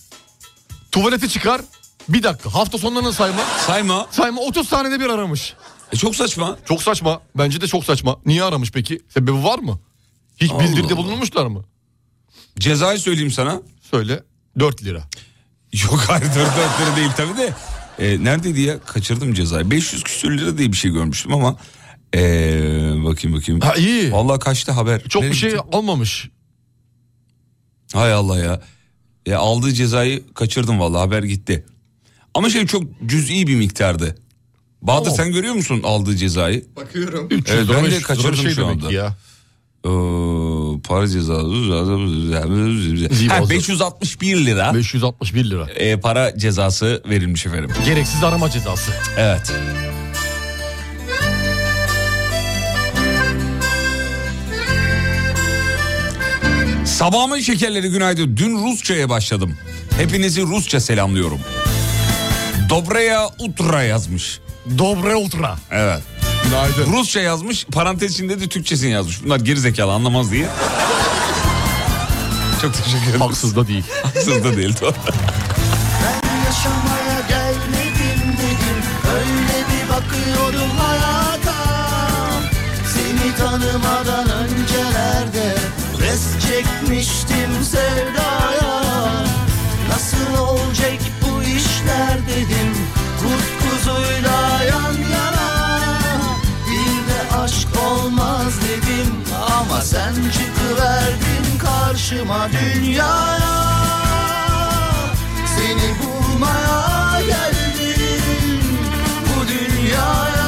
S2: Tuvaleti çıkar 1 dakika. Hafta sonlarını sayma.
S3: Sayma.
S2: Sayma 30 saniyede bir aramış.
S3: E, çok saçma.
S2: Çok saçma. Bence de çok saçma. Niye aramış peki? Sebebi var mı? Hiç
S3: Allah
S2: bildirde
S3: Allah.
S2: bulunmuşlar mı?
S3: Cezayı söyleyeyim sana.
S2: Söyle. 4 lira.
S3: Yok hayır dört dört lira değil tabii de. E, neredeydi ya? Kaçırdım cezayı. 500 küsür lira diye bir şey görmüştüm ama. E, bakayım bakayım.
S2: Ha iyi.
S3: Vallahi kaçtı haber.
S2: Çok
S3: Nereye
S2: bir şey
S3: gitti?
S2: almamış.
S3: Hay Allah ya. E, aldığı cezayı kaçırdım vallahi haber gitti. Ama şey çok cüz'i bir miktardı. Bahadır
S2: Tamam.
S3: sen görüyor musun aldığı cezayı?
S2: 300
S3: Evet,
S2: lira.
S3: ben de
S2: 500 lira
S3: kaçırdım
S2: şey
S3: şu
S2: demek
S3: anda.
S2: ki Ya.
S3: Ee, para cezası. Ha, 561 lira
S2: 561 lira.
S3: e, para cezası verilmiş efendim.
S2: Gereksiz arama cezası.
S3: Evet. Sabahımın şekerleri günaydın. Dün Rusça'ya başladım. Hepinizi Rusça selamlıyorum. Dobraya Utra yazmış.
S2: Dobre ultra.
S3: Evet.
S2: Günaydın.
S3: Rusça yazmış parantez içinde de Türkçesini yazmış. Bunlar gerizekalı anlamaz diye. Çok teşekkür ederim.
S2: Haksız da değil.
S3: Haksız da değil doğru.
S1: Yaşamaya gelmedim dedim Öyle bir bakıyorum hayata Seni tanımadan öncelerde Res çekmiştim sevdaya Nasıl olacak bu işler dedim Kurt kuzuyla yan yana Bir de aşk olmaz dedim Ama sen çıkıverdin karşıma dünyaya seni bulmaya geldim bu dünyaya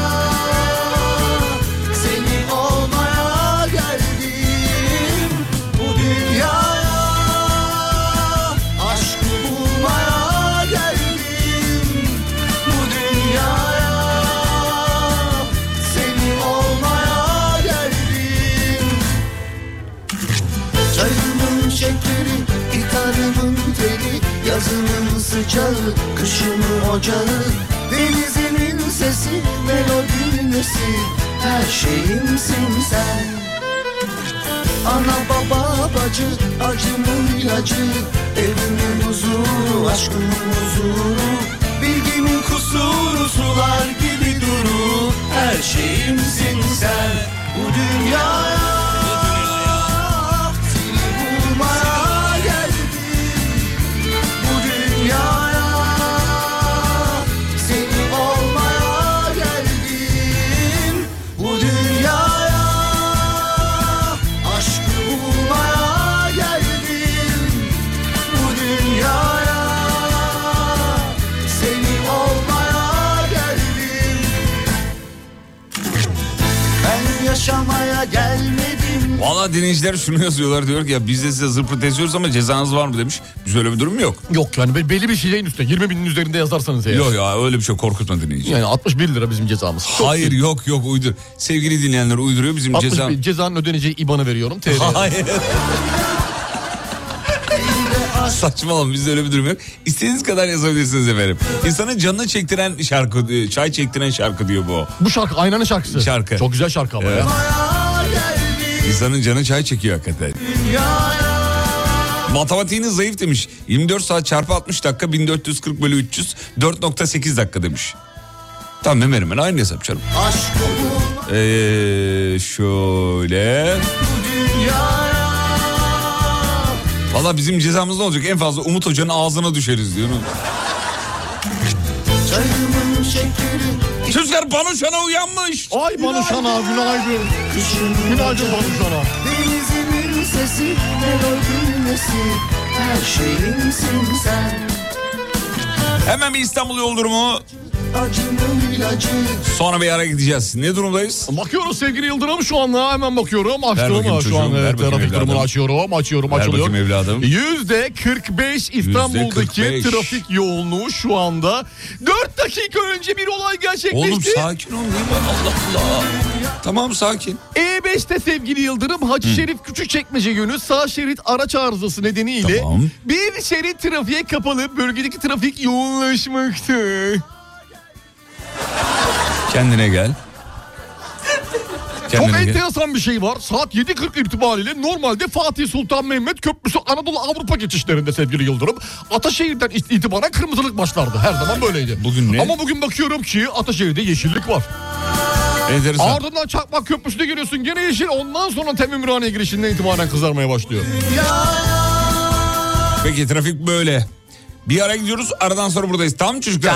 S11: Yazının sıcağı, kışın ocağı Denizinin sesi, melodinin nesi Her şeyimsin sen Ana baba bacı, acımın ilacı Evimin huzuru, aşkımın huzuru Bilgimin kusuru, sular gibi duru Her şeyimsin sen Bu dünya seni bulmaya geldim Bu dünyaya Seni olmaya geldim Bu dünyaya Aşkı bulmaya geldim Bu dünyaya Seni olmaya geldim Ben yaşamaya gelmedim
S3: Valla dinleyiciler şunu yazıyorlar diyor ki ya biz de size zıpırt eziyoruz ama cezanız var mı demiş. Biz öyle bir durum yok.
S2: Yok yani be- belli bir şeyin üstüne 20 binin üzerinde yazarsanız eğer.
S3: Yok ya öyle bir şey korkutma dinleyici.
S2: Yani 61 lira bizim cezamız. Çok
S3: Hayır
S2: değil.
S3: yok yok uydur. Sevgili dinleyenler uyduruyor bizim
S2: 61
S3: cezam.
S2: cezanın ödeneceği IBAN'ı veriyorum. TL.
S3: Hayır. Saçmalama bizde öyle bir durum yok. İstediğiniz kadar yazabilirsiniz efendim. İnsanın canını çektiren şarkı, e, çay çektiren şarkı diyor bu.
S2: Bu şarkı aynanın şarkısı.
S3: Şarkı.
S2: Çok güzel şarkı ama
S3: Evet.
S2: ya.
S3: İnsanın canı çay çekiyor hakikaten. Matematiğiniz zayıf demiş. 24 saat çarpı 60 dakika 1440 bölü 300 4.8 dakika demiş. Tamam hemen hemen aynı hesap canım.
S11: Aşkı bulmaya
S3: Ee, şöyle. Valla bizim cezamız ne olacak? En fazla Umut Hoca'nın ağzına düşeriz diyor.
S11: Çayımın şekeri
S3: Rüzgar Banuşan'a uyanmış.
S2: Ay Banuşan'a günaydın. Günaydın Banuşan'a.
S11: Denizimin sesi, melodinin nesi Her şeyimsin sen
S3: Hemen bir İstanbul yol durumu.
S11: Acımın ilacı
S3: Sonra bir ara gideceğiz. Ne durumdayız?
S2: Bakıyoruz sevgili Yıldırım şu anda hemen bakıyorum. Açtım
S3: bakayım
S2: ha, şu
S3: çocuğum,
S2: an
S3: ver
S2: evet,
S3: bakayım
S2: trafik durumunu
S3: evladım.
S2: açıyorum açıyorum
S3: Ver
S2: açılıyor.
S3: bakayım evladım.
S2: Yüzde 45 İstanbul'daki
S3: %45.
S2: trafik yoğunluğu şu anda. 4 dakika önce bir olay gerçekleşti.
S3: Oğlum sakin ol. değil mi? Allah Allah. Tamam sakin.
S2: E5'te E sevgili Yıldırım Hacı Şerif Küçükçekmece yönü sağ şerit araç arızası nedeniyle
S3: Tamam.
S2: bir şerit trafiğe kapalı bölgedeki trafik yoğunlaşmakta.
S3: Kendine gel.
S2: Çok
S3: Kendine gel.
S2: enteresan bir şey var. Saat 7.40 itibariyle normalde Fatih Sultan Mehmet Köprüsü Anadolu Avrupa geçişlerinde sevgili Yıldırım. Ataşehir'den it- itibaren kırmızılık başlardı. Her zaman böyleydi.
S3: Bugün ne?
S2: Ama bugün bakıyorum ki Ataşehir'de yeşillik var.
S3: Enteresan.
S2: Ardından Çakmak Köprüsü'ne giriyorsun gene yeşil. Ondan sonra Temimrane girişinden itibaren kızarmaya başlıyor.
S3: Peki trafik böyle. Bir ara gidiyoruz aradan sonra buradayız. Tamam mı çocuklar?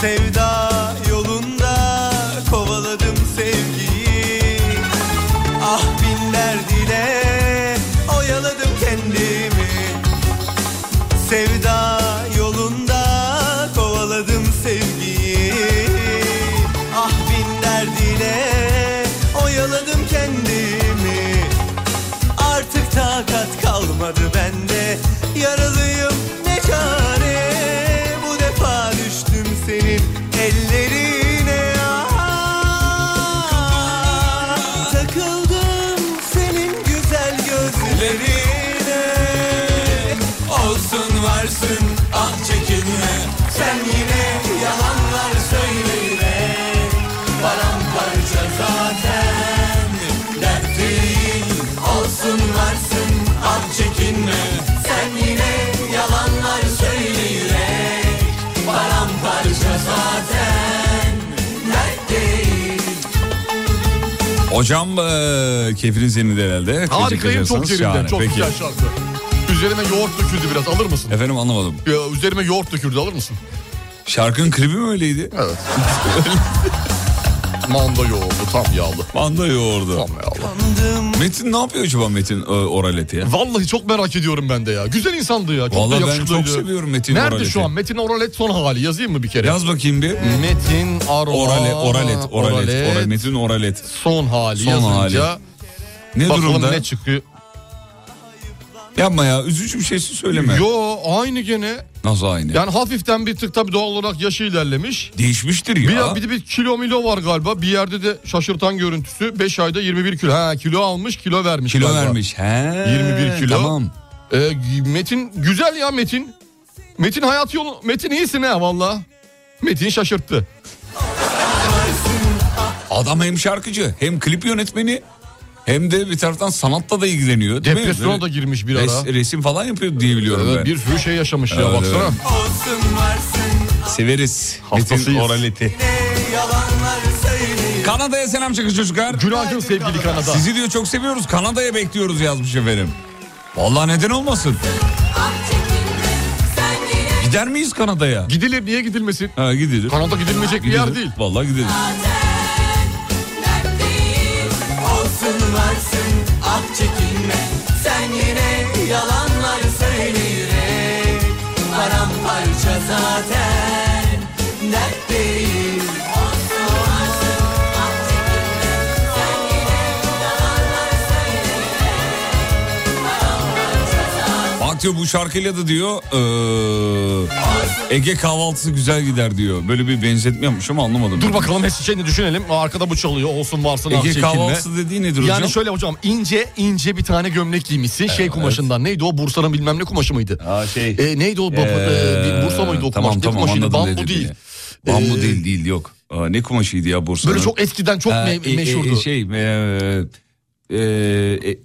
S5: Sevda yolunda kovaladım sevgiyi Ah bin derdine oyaladım kendimi Sevda yolunda kovaladım sevgiyi Ah bin derdine oyaladım kendimi Artık takat kalmadı bende Yaralıyım ne çare Bu defa düştüm senin ellerine Ah, Takıldım senin güzel gözlerine Olsun varsın ah çekinme Sen yine yalanlar söyle yine Paramparça zaten dertliyim Olsun varsın ah çekinme Sen yine yalanlar söyleyerek Paramparça zaten dertliyim
S3: Hocam e, keyfiniz yerinde herhalde. Gece
S2: Harikayım
S3: kaçarsanız
S2: çok yerinde.
S3: şahane.
S2: Çok
S3: Peki.
S2: güzel şarkı. Üzerime yoğurt döküldü biraz alır mısın?
S3: Efendim anlamadım.
S2: Ya, üzerime yoğurt döküldü alır mısın?
S3: Şarkının klibi mi öyleydi?
S2: Evet. Manda yoğurdu tam yağlı.
S3: Manda yoğurdu.
S2: Tam yağlı.
S3: Metin ne yapıyor acaba Metin e, Oraleti ya?
S2: Vallahi çok merak ediyorum ben de ya. Güzel insandı ya. Çok da
S3: Vallahi ben
S2: yakışıklıydı.
S3: çok seviyorum Metin
S2: Nerede
S3: Oralet'i.
S2: şu an? Metin Oralet son hali. Yazayım mı bir kere?
S3: Yaz bakayım bir.
S2: Metin Ar-
S3: Orale, oralet, oralet, oralet. Metin oralet.
S2: Son hali
S3: Son
S2: yazınca
S3: hali. Ne
S2: bakalım
S3: durumda?
S2: ne çıkıyor.
S3: Yapma ya üzücü bir şey söyleme.
S2: Yo aynı gene.
S3: Nasıl aynı?
S2: Yani hafiften bir tık tabii doğal olarak yaşı ilerlemiş.
S3: Değişmiştir ya.
S2: Bir, bir de bir kilo milo var galiba. Bir yerde de şaşırtan görüntüsü. 5 ayda 21 kilo. Ha kilo almış kilo vermiş.
S3: kilo
S2: galiba.
S3: vermiş. He.
S2: 21 kilo.
S3: Tamam.
S2: Ee, Metin güzel ya Metin. Metin hayat yolu. Metin iyisin ha valla. Metin şaşırttı.
S3: Adam hem şarkıcı hem klip yönetmeni hem de bir taraftan sanatla da ilgileniyor. değil mi?
S2: Depresyona
S3: Böyle
S2: da girmiş bir ara.
S3: res- resim falan yapıyor diye biliyorum
S2: Evet,
S3: ben.
S2: bir sürü şey yaşamış ya
S3: Evet,
S2: baksana.
S3: evet. Severiz.
S2: Hastasıyız.
S3: Metin oraleti. Kanada'ya selam çakın çocuklar.
S2: Günaydın sevgili Kanada.
S3: Sizi diyor çok seviyoruz. Kanada'ya bekliyoruz yazmış efendim. Vallahi neden olmasın? Gider miyiz Kanada'ya?
S2: Gidilir niye gidilmesin?
S3: Ha gidilir.
S2: Kanada gidilmeyecek bir yer
S3: Gidilir.
S2: değil.
S3: Vallahi gidilir. Bak diyor bu şarkıyla da diyor eee, Ege kahvaltısı güzel gider diyor. Böyle bir benzetme yapmış ama anlamadım.
S2: Dur bakalım şeyini düşünelim. Arkada bu çalıyor. Olsun varsın ah
S3: Ege
S2: çekinme.
S3: kahvaltısı dediği nedir
S2: Yani
S3: hocam?
S2: şöyle hocam ince ince bir tane gömlek giymişsin şey kumaşından. Neydi o Bursa'nın bilmem ne kumaşı mıydı?
S3: Aa, şey.
S2: E, neydi o? Bab-
S3: Eee,
S2: e, bir Bursa mıydı o
S3: Tamam
S2: kumaş? Ne
S3: tamam
S2: kumaşıydı?
S3: anladım ne
S2: Bambu
S3: dediğini.
S2: değil.
S3: Bambu
S2: Ee,
S3: değil değil yok. Aa, ne kumaşıydı ya Bursa'nın?
S2: Böyle çok eskiden çok
S3: Ha,
S2: me-
S3: e, e,
S2: meşhurdu.
S3: e, şey eee, eee,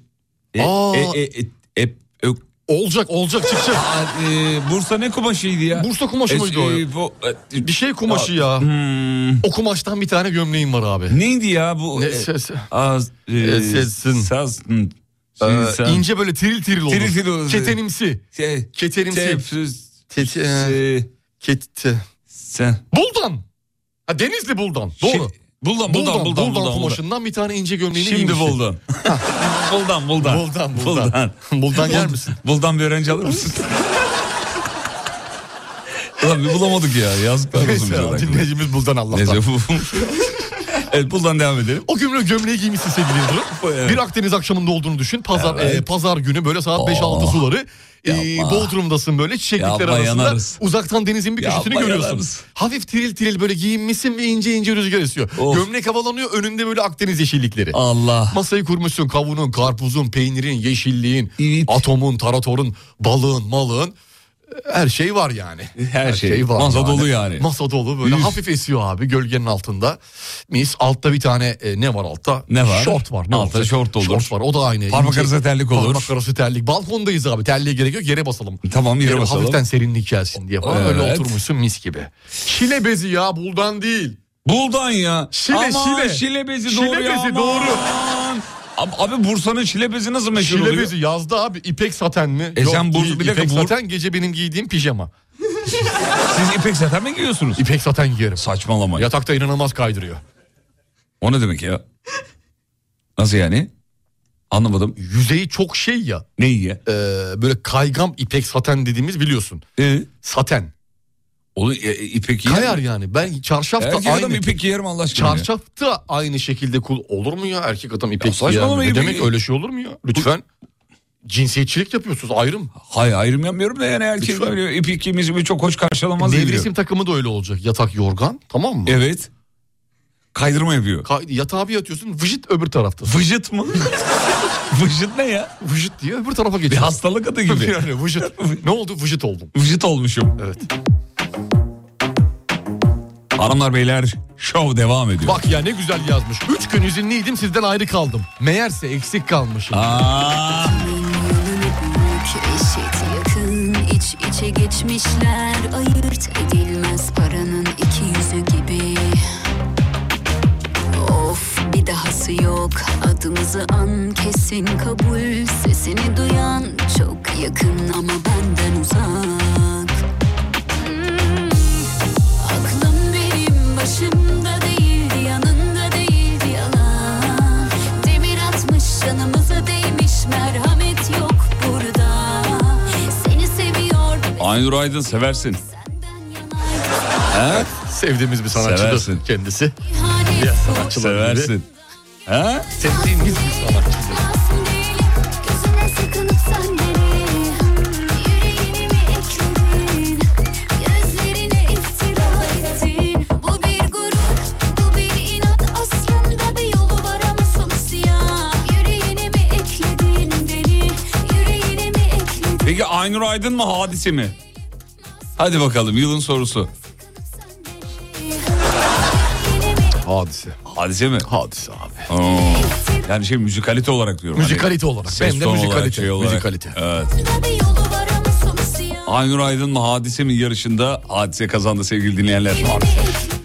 S3: e,
S2: Aa.
S3: e, e, e, e, ö-
S2: Olacak olacak
S3: <laughs>
S2: çıkacak.
S3: Aa, eee, Bursa ne kumaşıydı ya?
S2: Bursa kumaşı
S3: Es-
S2: mıydı o?
S3: e, bu- e,
S2: Bir şey kumaşı ya.
S3: Hmm.
S2: O kumaştan bir tane gömleğim var abi.
S3: Neydi ya bu?
S2: Ne
S3: E,
S2: ses?
S3: Az, e,
S2: E, sesin.
S3: Saz, hmm, hı,
S2: Ee,
S3: sen-
S2: ince böyle tiril tiril olur.
S3: Tiril tiril olur.
S2: Ketenimsi.
S3: Şey,
S2: Ketenimsi.
S3: tepsiz,
S2: Tete-
S3: se-
S2: Kette.
S3: sen.
S2: Buldan. Ha Denizli Buldan. Doğru.
S3: Şey, Buldum, buldum, buldum,
S2: Buldan
S3: buldum, buldum.
S2: kumaşından bir tane ince gömleğini
S3: Şimdi
S2: giymişsin. <laughs>
S3: buldum. buldum, buldum.
S2: Buldan, buldan. Buldan yer misin?
S3: Buldan bir öğrenci
S2: <laughs>
S3: alır mısın? Ulan bir bulamadık ya. Yazıklar olsun bize.
S2: Neyse
S3: de.
S2: dinleyicimiz Buldan
S3: Neyse
S2: Allah'tan.
S3: bu. evet buldan devam edelim.
S2: O gömle gömleği giymişsin sevgili Yıldırım.
S3: Evet.
S2: Bir Akdeniz akşamında olduğunu düşün. Pazar
S3: Evet.
S2: e, pazar günü böyle saat 5-6
S3: Oh.
S2: suları. E,
S3: Yapma.
S2: Bodrum'dasın böyle çiçeklikler
S3: Yapma,
S2: arasında.
S3: yanarız.
S2: Uzaktan denizin bir köşesini
S3: Yapma,
S2: görüyorsun.
S3: yanarız.
S2: Hafif tiril tiril böyle giyinmişsin ve ince ince rüzgar esiyor.
S3: Of.
S2: Gömlek havalanıyor önünde böyle Akdeniz yeşillikleri.
S3: Allah.
S2: Masayı kurmuşsun kavunun, karpuzun, peynirin, yeşilliğin,
S3: Evet.
S2: atomun, taratorun, balığın, malığın. Her şey var yani.
S3: Her şey. Masa dolu yani.
S2: Masa dolu böyle
S3: Üf.
S2: hafif esiyor abi gölgenin altında. Mis altta bir tane e, ne var altta?
S3: Ne var?
S2: Şort var. Ne
S3: Altta
S2: olacak?
S3: şort olur.
S2: var o da aynı.
S3: Parmak
S2: İnce-
S3: arası terlik olur.
S2: Parmak arası terlik. Balkondayız abi terliğe gerek yok yere basalım.
S3: Tamam, yere basalım.
S2: Hafiften serinlik gelsin diye falan öyle
S3: Evet.
S2: oturmuşsun mis gibi. Şile bezi ya buldan değil.
S3: Buldan ya.
S2: Şile,
S3: Aman,
S2: şile.
S3: Şile bezi
S2: Şile
S3: doğru ya,
S2: bezi
S3: aman.
S2: doğru.
S3: Ab- Abi Bursa'nın şile bezi nasıl meşhur
S2: Şile
S3: oluyor?
S2: bezi yazda abi ipek saten mi?
S3: E sen Bursa-
S2: değil,
S3: bir dakika,
S2: İpek
S3: Bur-
S2: saten gece benim giydiğim pijama.
S3: Siz ipek zaten mi giyiyorsunuz?
S2: İpek saten giyerim.
S3: Saçmalama. ya.
S2: Yatakta inanılmaz kaydırıyor.
S3: O ne demek ya? Nasıl yani? Anlamadım.
S2: Yüzeyi çok şey ya.
S3: Neyi ya?
S2: e, böyle kaygam ipek saten dediğimiz biliyorsun.
S3: Ee,
S2: Saten.
S3: onu e, ipek giyer
S2: Kayar
S3: mi?
S2: yani. Ben çarşafta
S3: Erkek
S2: aynı.
S3: adam ipek giyer mi Allah aşkına? ya?
S2: Çarşafta aynı şekilde kul olur mu ya? Erkek adam
S3: Ya
S2: ipek giyer
S3: saçmalama
S2: mi? Ne
S3: ipek-
S2: demek öyle şey olur mu ya? Lütfen. Cinsiyetçilik yapıyorsunuz ayrım.
S3: Hayır ayrım yapmıyorum da yani erkek
S2: Lütfen.
S3: öyle ipek giymesi bir çok hoş karşılamaz diye
S2: Nevresim
S3: biliyorum.
S2: takımı da öyle olacak. Yatak yorgan tamam mı?
S3: Evet. Kaydırma yapıyor.
S2: Ka- yatağa bir yatıyorsun vıjıt öbür tarafta.
S3: Vıcıt mı? <laughs> Vıcıt ne ya?
S2: Vıjıt diye öbür tarafa
S3: Bir
S2: geçiyorsun.
S3: hastalık adı gibi.
S2: <laughs> yani vıjıt. ne oldu? Vıjıt oldum.
S3: Vıcıt olmuşum.
S2: Evet.
S3: Hanımlar beyler şov devam ediyor.
S2: Bak ya ne güzel yazmış. Üç gün izinliydim sizden ayrı kaldım. Meğerse eksik kalmışım.
S3: Aa,
S10: Eşit yakın iç içe geçmişler Ayırt edilmez paranın iki yüzü gibi Of bir dahası yok adımızı an kesin kabul Sesini duyan çok Yakın ama benden uzak Hmm. Aklım benim başımda değildi yanında değildi yalan Demir atmış canımıza değmiş merhamet yok burada Seni seviyor
S3: Aynur Aydın seversin. He?
S2: Sevdiğimiz bir sanatçıdır
S3: Seversin.
S2: kendisi.
S10: ihanet
S2: Diğer sanatçılar gibi.
S3: Seversin. Ha?
S2: Sevdiğimiz bir sanatçıdır.
S10: Gözüne sıkılıp sen beni Yüreğini mi ekledin Gözlerine iftira ettin Bu bir gurur bu bir inat Aslında bir yolu var ama sonu siyah Yüreğini mi ekledin beni Yüreğini mi ekledin
S3: Peki Aynur Aydın mı hadise mi? Hadi bakalım yılın sorusu.
S2: Hadise.
S3: Hadise mi?
S2: Hadise abi.
S3: Oo. Yani şey müzikalite olarak diyorum.
S2: Müzikalite olarak.
S3: ses
S2: Benim de
S3: tonu olarak,
S2: müzikalite.
S3: şey olarak.
S2: müzikalite.
S3: Evet.
S10: Bir yolu var ama sonu siyah
S3: Aynur Aydın mı hadise mi yarışında hadise kazandı sevgili dinleyenler.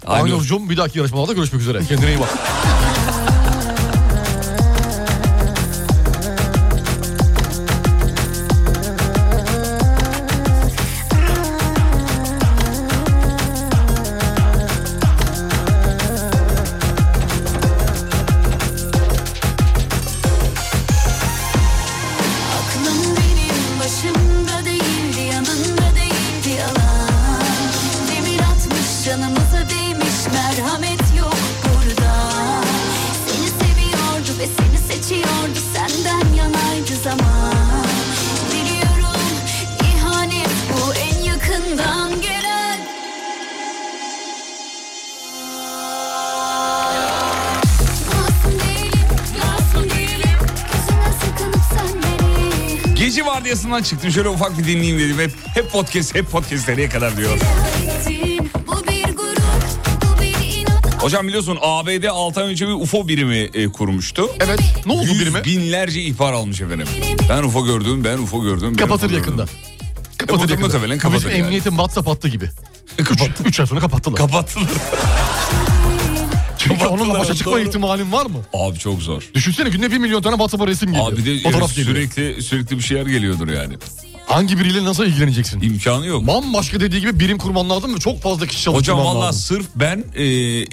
S3: Aynur.
S2: Aynurcuğum bir dahaki yarışmalarda görüşmek üzere. Kendine iyi bak.
S10: Aklım benim başımda değildi yanında değildi yalan Demir atmış canımıza değmiş merhamet yok burada Seni seviyordu ve seni seçiyordu senden yanaydı zaman Biliyorum ihanet bu en yakından gelen Masum değilim, masum değilim Gözüne sıkılıp sen beni
S3: Gece vardiyasından çıktım şöyle ufak bir dinleyeyim dedim. Hep, hep podcast hep podcast nereye kadar diyor.
S10: Ettin. Bu bir gurur, bu bir inat
S3: Hocam biliyorsun ABD 6 ay önce bir UFO birimi e, kurmuştu.
S2: Evet. Ne oldu
S3: Yüz
S2: birime?
S3: binlerce ihbar almış efendim. Ben UFO gördüm, ben UFO gördüm. ben
S2: Kapatır
S3: UFO gördüm.
S2: yakında.
S3: E,
S2: Kapatır
S3: bu da
S2: yakında.
S3: muhtemelen
S2: Bu
S3: kapatır
S2: bizim
S3: yani.
S2: emniyetin WhatsApp hattı gibi.
S3: <laughs>
S2: Kapattı. Üç ay sonra kapattılar.
S3: Kapattılar.
S2: Çünkü onunla başa çıkma
S3: doğru.
S2: ihtimalin var mı?
S3: Abi çok zor.
S2: Düşünsene günde bir milyon tane WhatsApp'a resim geliyor.
S3: Abi de
S2: Fotoğraf
S3: evet,
S2: geliyor.
S3: sürekli sürekli bir şeyler geliyordur yani.
S2: Hangi biriyle nasıl ilgileneceksin?
S3: İmkanı yok.
S2: Bambaşka dediği gibi birim kurman lazım ve çok fazla kişi çalıştırman
S3: Hocam valla
S2: lazım.
S3: sırf ben e,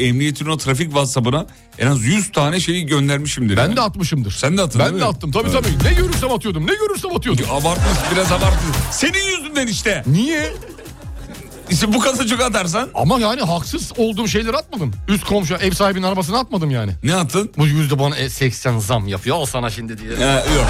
S3: emniyetin o trafik WhatsApp'ına en az 100 tane şeyi göndermişimdir.
S2: Ben
S3: yani.
S2: de atmışımdır.
S3: Sen de attın
S2: Ben
S3: değil mi?
S2: de attım tabii
S3: Evet.
S2: tabii. Ne görürsem atıyordum ne görürsem atıyordum.
S3: Abartmış biraz abartmış. Senin yüzünden işte.
S2: Niye?
S3: İşte bu kazacık atarsan
S2: Ama yani haksız olduğum şeyleri atmadım. Üst komşu ev sahibinin arabasını atmadım yani.
S3: ne attın?
S2: Bu yüzde bana e, 80 zam yapıyor o sana şimdi diye.
S3: Ee, yok.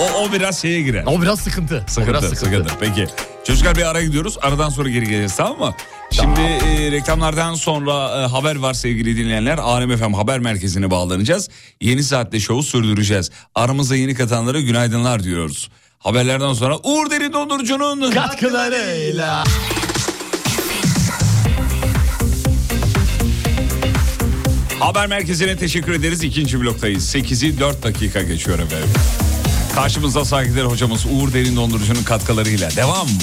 S3: O, o biraz şeye girer.
S2: O biraz sıkıntı. O
S3: Sıkıntı,
S2: biraz
S3: sıkıntı. Peki. Çocuklar bir ara gidiyoruz. Aradan sonra geri geleceğiz tamam mı? Şimdi e, reklamlardan sonra e, haber var sevgili dinleyenler. ARMFM Haber Merkezi'ne bağlanacağız. Yeni saatte şovu sürdüreceğiz. Aramıza yeni katanlara günaydınlar diyoruz. Haberlerden sonra Uğur Derin Dondurucu'nun...
S2: Katkılarıyla.
S3: Haber merkezine teşekkür ederiz. İkinci bloktayız. 8'i 4 dakika geçiyor efendim. Karşımızda saygıdeğer hocamız Uğur Derin Dondurucu'nun katkılarıyla. Devam mı?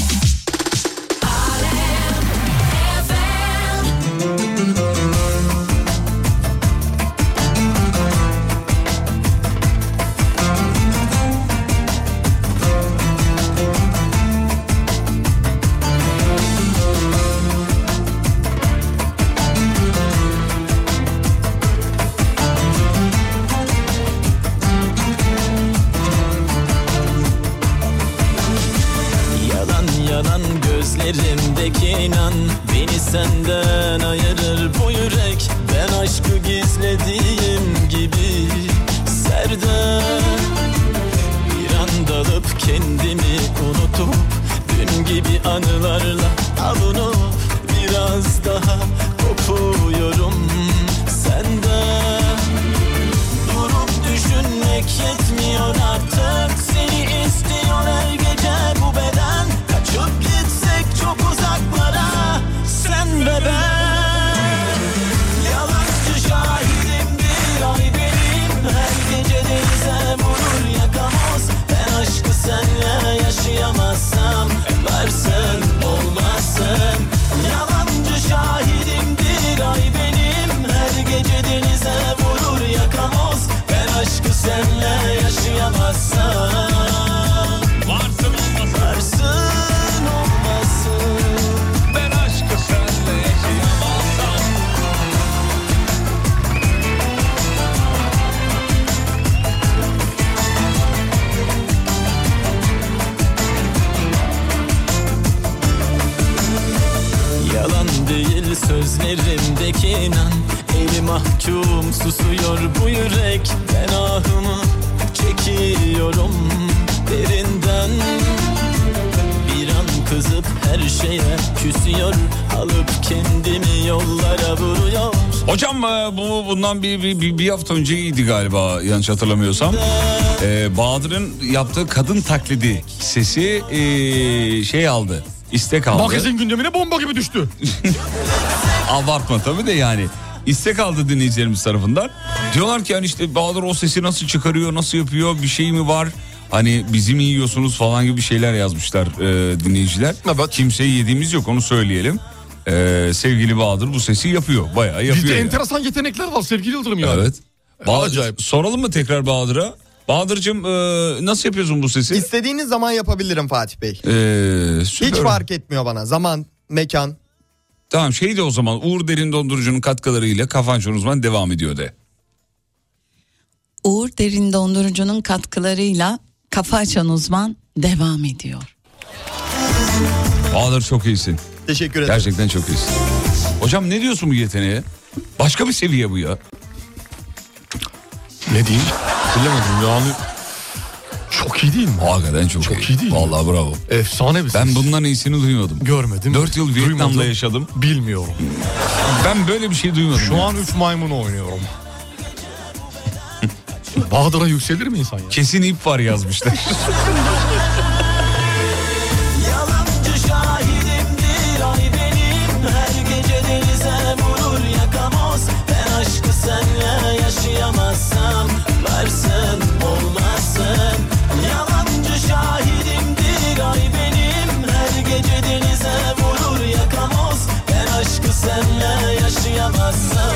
S12: Yalan yalan gözlerimdeki inan Beni senden ayırır bu yürek Ben aşkı gizlediğim gibi Serdar Bir an dalıp kendimi unutup Dün gibi anılarla avunup Biraz daha kopuyorum senden Durup düşünmek yetmiyor artık Seni istiyor her gece bu beden Kaçıp gitsek çok uzaklara Sen ve ben Yalancı şahidim bir ay benim Her gece denize vurur yakamoz Ben aşkı senle yaşayamazsam Varsın olmazsın Yalancı şahidim bir ay benim Her gece denize vurur yakamoz Ben aşkı senle yaşayamazsam sözlerimdeki inan Eli mahkum susuyor bu yürek Ben ahımı çekiyorum derinden Bir an kızıp her şeye küsüyor Alıp kendimi yollara vuruyor
S3: Hocam e, bu bundan bir, bir, bir, bir hafta önceydi galiba yanlış hatırlamıyorsam. E, Bahadır'ın yaptığı kadın taklidi sesi e, şey aldı. istek aldı.
S2: Magazin gündemine bomba gibi düştü.
S3: Abartma tabii de yani. istek aldı dinleyicilerimiz tarafından. Diyorlar ki hani işte Bahadır o sesi nasıl çıkarıyor, nasıl yapıyor, bir şey mi var? Hani bizi mi yiyorsunuz falan gibi şeyler yazmışlar e, dinleyiciler. Kimseyi yediğimiz yok onu söyleyelim. E, sevgili Bahadır bu sesi yapıyor, bayağı yapıyor.
S2: Bizde
S3: yani.
S2: enteresan yetenekler var sevgili Yıldırım yani.
S3: Evet. Bahadır, Soralım mı tekrar Bahadır'a? Bahadır'cığım e, nasıl yapıyorsun bu sesi?
S13: İstediğiniz zaman yapabilirim Fatih Bey.
S3: E,
S13: Hiç
S3: süper.
S13: fark etmiyor bana. Zaman, mekan.
S3: Tamam şey de o zaman Uğur Derin Dondurucu'nun katkılarıyla Kafançon Uzman devam ediyor de.
S14: Uğur Derin Dondurucu'nun katkılarıyla Kafa Açan Uzman devam ediyor.
S3: Bahadır çok iyisin.
S13: Teşekkür ederim.
S3: Gerçekten çok iyisin. Hocam ne diyorsun bu yeteneğe? Başka bir seviye bu ya.
S2: Ne diyeyim? Bilemedim yani. Çok iyi değil mi?
S3: Hakikaten çok,
S2: çok iyi. değil
S3: Vallahi bravo.
S2: Efsane bir
S3: Ben bundan iyisini duymadım.
S2: Görmedim.
S3: 4 yıl Vietnam'da
S2: Duymadım.
S3: yaşadım.
S2: Bilmiyorum.
S3: Ben böyle bir şey duymadım.
S2: Şu an 3 maymunu oynuyorum. <laughs> Bahadır'a yükselir mi insan ya?
S3: Kesin ip var yazmışlar.
S12: Yalancı şahidimdir ay benim Her gece denize vurur yakamoz Ben aşkı senle yaşayamazsam Varsın olmazsın Yalancı şahidimdir ay benim Her gece denize vurur yakamoz Ben aşkı senle yaşayamazsam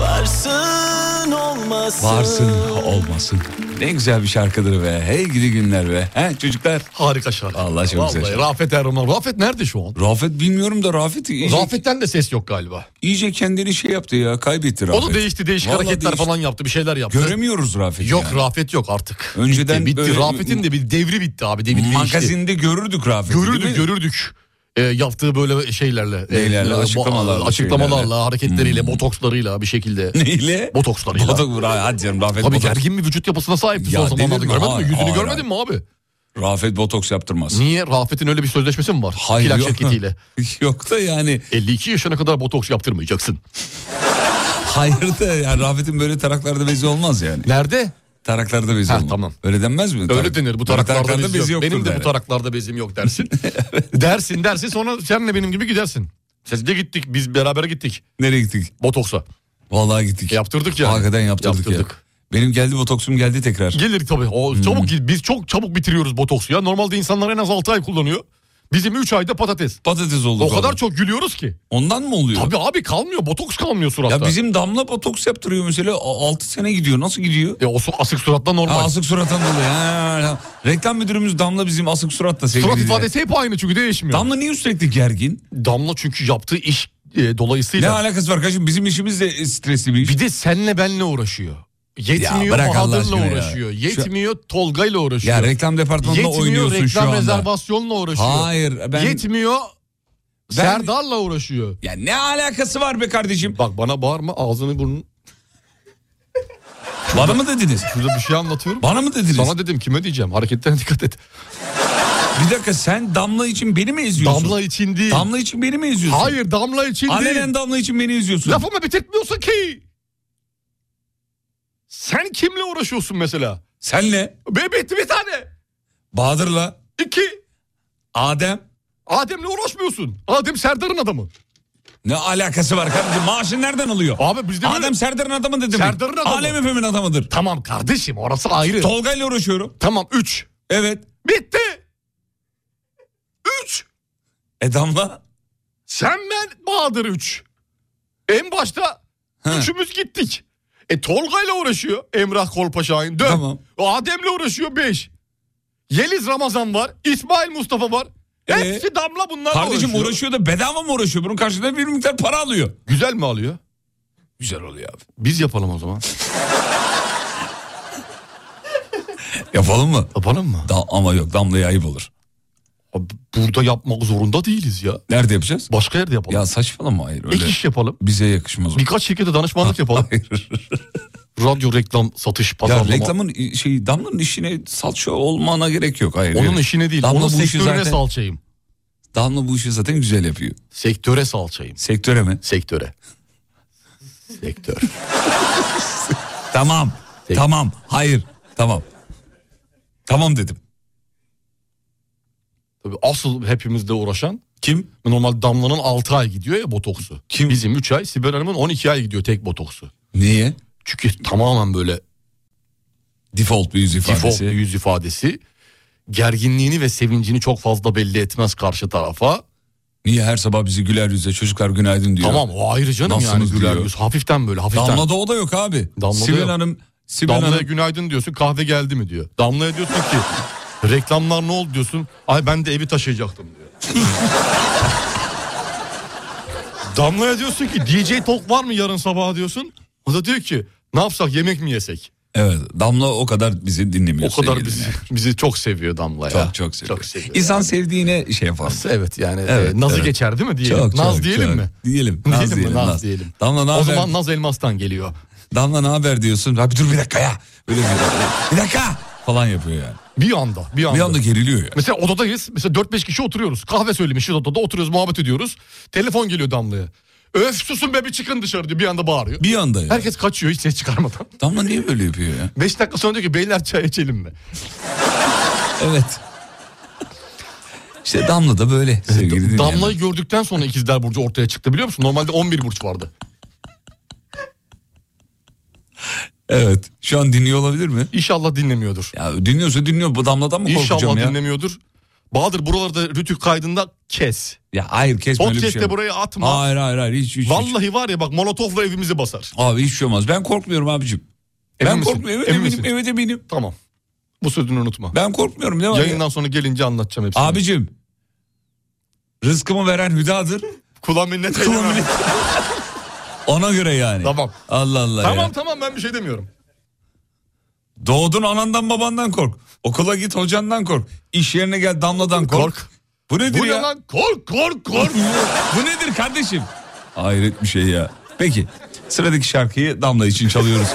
S12: Varsın olmazsın
S3: Varsın olmasın. Ne güzel bir şarkıdır be. Hey gidi günler be. He çocuklar.
S2: Harika şarkı.
S3: Allah çok
S2: Vallahi
S3: güzel. şarkı.
S2: Rafet Erman. Rafet nerede şu
S3: <laughs>
S2: an?
S3: Rafet bilmiyorum da Rafet iyice,
S2: Rafet'ten de ses yok galiba.
S3: iyice kendini şey yaptı ya kaybetti Rafet.
S2: O da değişti değişik
S3: Vallahi
S2: hareketler
S3: değişti.
S2: falan yaptı bir şeyler yaptı.
S3: Göremiyoruz Rafet'i
S2: Yok
S3: yani.
S2: Rafet yok artık. bitti,
S3: Önceden
S2: bitti.
S3: böyle-
S2: Rafet'in de bir devri bitti abi devri değişti.
S3: Magazinde görürdük Rafet'i değil mi?
S2: Görürdük görürdük. E, yaptığı böyle şeylerle. e,
S3: Neylerle,
S2: bu-
S3: açıklamalarla,
S2: açıklamalarla,
S3: şeylerle. Hmm.
S2: hareketleriyle, botokslarıyla bir
S3: <laughs>
S2: şekilde.
S3: <laughs> Neyle?
S2: Botokslarıyla.
S3: Botok- Ra- hadi canım Rafet
S2: Abi
S3: botoks.
S2: gergin bir vücut yapısına sahipti
S3: Ya
S2: son zamanlarda.
S3: denir mi?
S2: Görmedin mi?
S3: Hayır,
S2: Yüzünü
S3: hayır,
S2: görmedin mi abi?
S3: Rafet botoks yaptırmaz.
S2: Niye? Rafet'in öyle bir sözleşmesi mi var?
S3: Hayır,
S2: Plak
S3: yok.
S2: şirketiyle.
S3: <laughs> Yok da yani.
S2: 52 yaşına kadar botoks yaptırmayacaksın.
S3: Hayır da yani Rafet'in böyle taraklarda bezi olmaz yani.
S2: Nerede?
S3: Taraklarda bezi olmaz.
S2: tamam.
S3: Öyle denmez mi?
S2: Öyle denir bu taraklarda bezim yok.
S3: yoktur
S2: Benim de
S3: der.
S2: bu taraklarda bezim yok
S3: <laughs>
S2: dersin. dersin dersin sonra senle benim gibi gidersin. Siz de gittik biz beraber gittik.
S3: Nereye gittik?
S2: Botoksa.
S3: Vallahi gittik.
S2: Yaptırdık yani.
S3: Hakikaten yaptırdık, ya.
S2: Yaptırdık.
S3: Benim geldi botoksum geldi tekrar.
S2: Gelir tabii.
S3: Hmm.
S2: O, çabuk gel- Biz çok çabuk bitiriyoruz botoksu ya. Normalde insanlar en az 6 ay kullanıyor. Bizim 3 ayda patates.
S3: Patates oldu.
S2: O kadar
S3: kaldı.
S2: çok gülüyoruz ki.
S3: Ondan mı oluyor?
S2: Tabii abi kalmıyor. Botoks kalmıyor suratta.
S3: Ya bizim damla botoks yaptırıyor mesela 6 sene gidiyor. Nasıl gidiyor?
S2: Ya E, o su- asık suratla normal.
S3: Ha, asık surattan dolayı. Ha, ha. Reklam müdürümüz Damla bizim asık suratla sevgili.
S2: Surat
S3: dinleyen.
S2: ifadesi hep aynı çünkü değişmiyor.
S3: Damla niye sürekli gergin?
S2: Damla çünkü yaptığı iş e,
S3: Ne
S2: dolayısıyla.
S3: alakası var kardeşim? Bizim işimiz de e, stresli bir iş.
S2: Bir de senle benle uğraşıyor. Yetmiyor
S3: bırak Allah
S2: Bahadır'la
S3: aşkına ya.
S2: uğraşıyor.
S3: Şu-
S2: Yetmiyor Tolga'yla uğraşıyor.
S3: Ya reklam departmanında
S2: Yetmiyor
S3: oynuyorsun
S2: reklam
S3: şu anda.
S2: rezervasyonla uğraşıyor.
S3: Hayır, ben-
S2: Yetmiyor
S3: Ben-
S2: Serdar'la uğraşıyor.
S3: Ya ne alakası var be kardeşim?
S2: Bak bana bağırma ağzını burnunu.
S3: Bana mı dediniz?
S2: Şurada bir şey <laughs> anlatıyorum.
S3: Bana mı dediniz?
S2: Sana dedim kime diyeceğim hareketlerine <laughs> dikkat et.
S3: Bir dakika sen Damla için beni mi eziyorsun?
S2: Damla için değil.
S3: Damla için beni mi eziyorsun?
S2: Hayır damla için değil.
S3: Alenen Damla için beni eziyorsun.
S2: Lafımı bitirtmiyorsun ki. Sen kimle uğraşıyorsun mesela?
S3: Senle,
S2: Be bitti bir tane.
S3: Bahadır'la,
S2: İki.
S3: Adem.
S2: Adem'le uğraşmıyorsun. Adem Serdar'ın adamı.
S3: Ne alakası var kardeşim? Maaşın nereden alıyor?
S2: Abi bizde böyle-
S3: Adem Serdar'ın adamı dedim.
S2: Serdar'ın adamı.
S3: Alem Efem'in adamıdır.
S2: Tamam kardeşim orası ayrı.
S3: Tolga ile uğraşıyorum.
S2: tamam 3.
S3: Evet.
S2: Bitti. 3.
S3: E Damla?
S2: Sen ben Bahadır 3. En başta
S3: He.
S2: üçümüz gittik. E Tolga ile uğraşıyor Emrah Kolpaşahin 4.
S3: Tamam.
S2: Adem'le uğraşıyor 5. Yeliz Ramazan var. İsmail Mustafa var.
S3: Ee?
S2: Hepsi damla bunlarla
S3: Kardeşim uğraşıyor da bedava mı uğraşıyor? Bunun karşılığında bir miktar para alıyor.
S2: Güzel mi alıyor?
S3: Güzel oluyor abi.
S2: Biz yapalım o zaman.
S3: Yapalım mı?
S2: Yapalım mı?
S3: Da- ama yok Damla'ya ayıp olur.
S2: Burada yapmak zorunda değiliz ya.
S3: Nerede yapacağız?
S2: Başka yerde yapalım.
S3: Ya saçmalama hayır öyle.
S2: Ek iş yapalım.
S3: Bize yakışmaz o. <laughs>
S2: Birkaç şirkete danışmanlık yapalım. Radyo reklam satış pazarlama.
S3: Ya reklamın i- şey damlanın işine salça olmana gerek yok. Hayır.
S2: Onun
S3: hayır.
S2: işine değil.
S3: Damla
S2: onun
S3: bu işi
S2: sektörüne
S3: zaten-
S2: salçayım.
S3: Damla bu işi zaten güzel yapıyor.
S2: Sektöre salçayım.
S3: Sektöre mi?
S2: Sektöre.
S3: <laughs>
S2: Sektör.
S3: tamam. Tamam. Hayır. Tamam. Tamam dedim.
S2: Tabii asıl hepimizde uğraşan
S3: kim?
S2: Normal Damla'nın 6 ay gidiyor ya botoksu. Kim? Bizim 3 ay, Sibel Hanım'ın 12 ay gidiyor tek botoksu.
S3: Niye?
S2: Çünkü tamamen böyle
S3: default bir yüz ifadesi.
S2: Default bir yüz ifadesi. Gerginliğini ve sevincini çok fazla belli etmez karşı tarafa.
S3: Niye her sabah bizi güler yüzle çocuklar günaydın diyor.
S2: Tamam o ayrı canım
S3: Nasılsınız
S2: yani güler
S3: diyor.
S2: yüz. Hafiften böyle hafiften.
S3: Damla'da o da yok abi.
S2: Damla'da
S3: Sibel
S2: yok.
S3: Hanım. Sibel
S2: Damla'ya
S3: Hanım.
S2: günaydın hani-" diyorsun kahve geldi mi diyor. Damla'ya diyorsun ki reklamlar ne oldu diyorsun. Ay ben de evi taşıyacaktım diyor. <laughs> Damla'ya diyorsun ki DJ Talk var mı yarın sabah diyorsun. O da diyor ki ne yapsak yemek mi yesek?
S3: Evet Damla o kadar bizi dinlemiyor.
S2: O kadar
S3: sevgili
S2: bizi, <laughs>
S3: dinleyen.
S2: bizi çok seviyor Damla ya.
S3: Çok çok seviyor.
S2: Çok seviyor.
S3: İnsan sevdiğine şey yapar.
S2: Evet yani e, nazı geçer değil mi diyelim?
S3: Çok,
S2: Naz
S3: çok,
S2: diyelim
S3: çok.
S2: mi?
S3: Diyelim.
S2: <laughs> Diyelim
S3: Naz
S2: mi?
S3: diyelim.
S2: Naz
S3: Naz.
S2: diyelim.
S3: Damla ne
S2: o
S3: haber?
S2: zaman Naz Elmas'tan geliyor.
S3: Damla ne haber diyorsun. Abi dur bir dakika ya. Böyle bir, bir dakika falan yapıyor yani.
S2: Bir anda, bir anda.
S3: Bir anda geriliyor ya.
S2: Mesela odadayız. Mesela 4-5 kişi oturuyoruz. Kahve söylemişiz odada. Oturuyoruz muhabbet ediyoruz. Telefon geliyor Damla'ya. Öf susun be bir çıkın dışarı diyor. Bir anda bağırıyor.
S3: Bir anda ya.
S2: Herkes kaçıyor hiç ses çıkarmadan. <laughs>
S3: Damla niye böyle yapıyor ya?
S2: 5 dakika sonra diyor ki beyler çay içelim mi?
S3: Evet. İşte Damla da böyle sevgili dinleyenler.
S2: Damla'yı gördükten sonra ikizler burcu ortaya çıktı biliyor musun? Normalde 11 burç vardı.
S3: Evet. Şu an dinliyor olabilir mi?
S2: İnşallah dinlemiyordur.
S3: Ya dinliyorsa dinliyor. Bu Damla'dan mı korkacağım
S2: İnşallah
S3: ya?
S2: dinlemiyordur. Bahadır buralarda rütük kaydında kes.
S3: Ya hayır kesme öyle bir
S2: Podcast'te
S3: şey. yok. şey.
S2: buraya atma.
S3: Hayır hayır hayır. Hiç, hiç, hiç.
S2: Vallahi var ya bak molotofla evimizi basar.
S3: Abi hiç şey olmaz. Ben korkmuyorum abicim.
S2: Emin
S3: ben
S2: misin?
S3: korkmuyorum. Evet,
S2: Emin
S3: eminim,
S2: misin?
S3: evet eminim.
S2: Tamam. Bu sözünü unutma.
S3: Ben korkmuyorum ne var ya?
S2: Yayından sonra gelince anlatacağım hepsini.
S3: Abicim. Rızkımı veren hüdadır.
S2: <laughs> Kula minnet
S3: Kula minnet. Ona göre yani. Tamam. Allah Allah
S2: Tamam
S3: ya.
S2: tamam ben bir şey demiyorum.
S3: Doğdun anandan babandan kork. Okula git hocandan kork. İş yerine gel damladan kork. Bu nedir
S2: Bu ne
S3: ya?
S2: lan? Kork kork kork.
S3: Bu nedir kardeşim? Hayret bir şey ya. Peki sıradaki şarkıyı Damla
S2: <laughs>
S3: için çalıyoruz.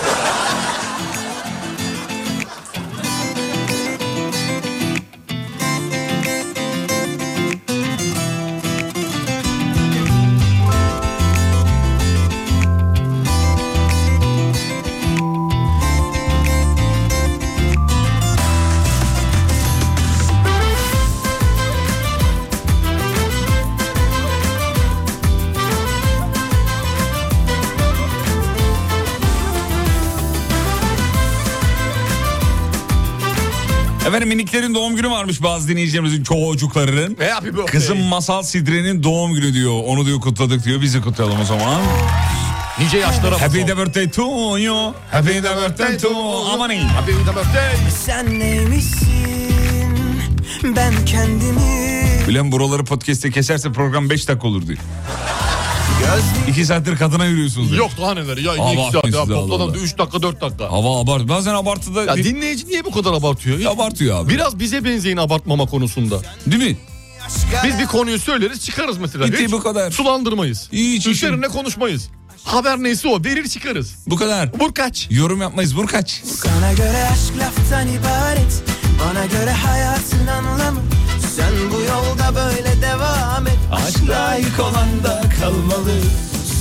S3: Efendim miniklerin doğum günü varmış bazı dinleyicilerimizin çocuklarının.
S2: Ne yapayım bu?
S3: Kızım Masal Sidre'nin doğum günü diyor. Onu diyor kutladık diyor. Bizi kutlayalım o zaman.
S2: Nice yaşlara
S3: Happy the birthday to you. Happy the birthday to aman iyi.
S15: Sen neymişsin? Ben kendimi
S3: Bilen buraları podcast'te keserse program 5 dakika olur diyor. 2 saattir kadına yürüyorsunuz. diyor.
S2: Yok daha neleri ya.
S3: Allah
S2: iki saat ya.
S3: affetsin, Allah
S2: Toplam
S3: Allah.
S2: 3 dakika 4 dakika.
S3: Hava abart. Bazen abartıda...
S2: Ya dinleyici niye bu kadar abartıyor?
S3: Abartıyor abi.
S2: Biraz bize benzeyin abartmama konusunda.
S3: Değil mi?
S2: Biz bir konuyu söyleriz çıkarız mesela.
S3: Bitti,
S2: Hiç
S3: bu kadar.
S2: Sulandırmayız.
S3: Hiç, hiç.
S2: Üzerine konuşmayız. Haber neyse o verir çıkarız.
S3: Bu kadar.
S2: Burkaç.
S3: Yorum yapmayız Burkaç.
S15: Sana göre aşk laftan ibaret Bana göre hayatın anlamı Sen bu yolda böyle devam et Aşk layık olan da kalmalı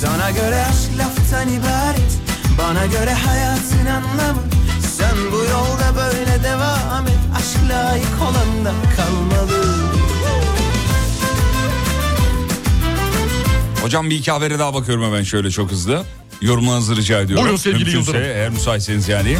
S15: Sana göre aşk laftan ibaret Bana göre hayatın anlamı Sen bu yolda böyle devam et Aşk layık olan da kalmalı
S3: Hocam bir iki habere daha bakıyorum hemen şöyle çok hızlı. Yorumlarınızı rica ediyorum.
S2: Buyurun sevgili
S3: Mümkünse,
S2: Yıldırım.
S3: Eğer müsaitseniz yani.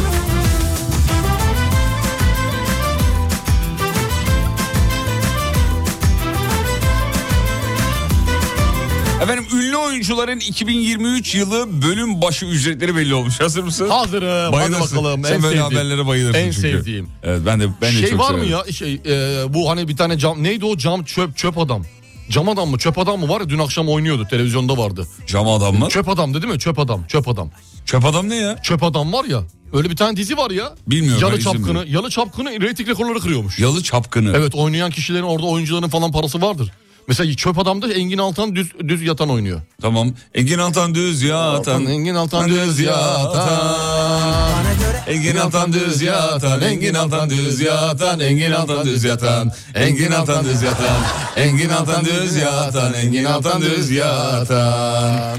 S3: Efendim ünlü oyuncuların 2023 yılı bölüm başı ücretleri belli olmuş. Hazır mısın?
S2: Hazırım.
S3: Bayılırsın.
S2: Hadi bakalım.
S3: Sen
S2: En
S3: böyle
S2: sevdiğim.
S3: haberlere bayılırsın
S2: En
S3: çünkü.
S2: sevdiğim.
S3: Evet ben de ben de
S2: şey
S3: çok
S2: var mı
S3: severim.
S2: ya şey e, bu hani bir tane cam neydi o cam çöp çöp adam. Cam adam mı çöp adam mı var ya dün akşam oynuyordu televizyonda vardı.
S3: Cam adam mı?
S2: Çöp adamdı değil mi? Çöp adam. Çöp adam.
S3: Çöp adam ne ya?
S2: Çöp adam var ya. Öyle bir tane dizi var ya.
S3: Bilmiyorum, ben
S2: Yalı
S3: izin
S2: çapkını.
S3: bilmiyorum.
S2: Yalı çapkını reyting rekorları kırıyormuş.
S3: Yalı çapkını.
S2: Evet oynayan kişilerin orada oyuncuların falan parası vardır. Mesela çöp adamda Engin Altan düz, düz yatan oynuyor.
S3: Tamam. Engin Altan düz yatan.
S2: Engin Altan düz yatan.
S3: Engin Altan düz yatan, Engin Altan düz yatan, Engin Altan düz yatan, Engin Altan düz yatan, Engin Altan düz yatan, Engin Altan düz yatan.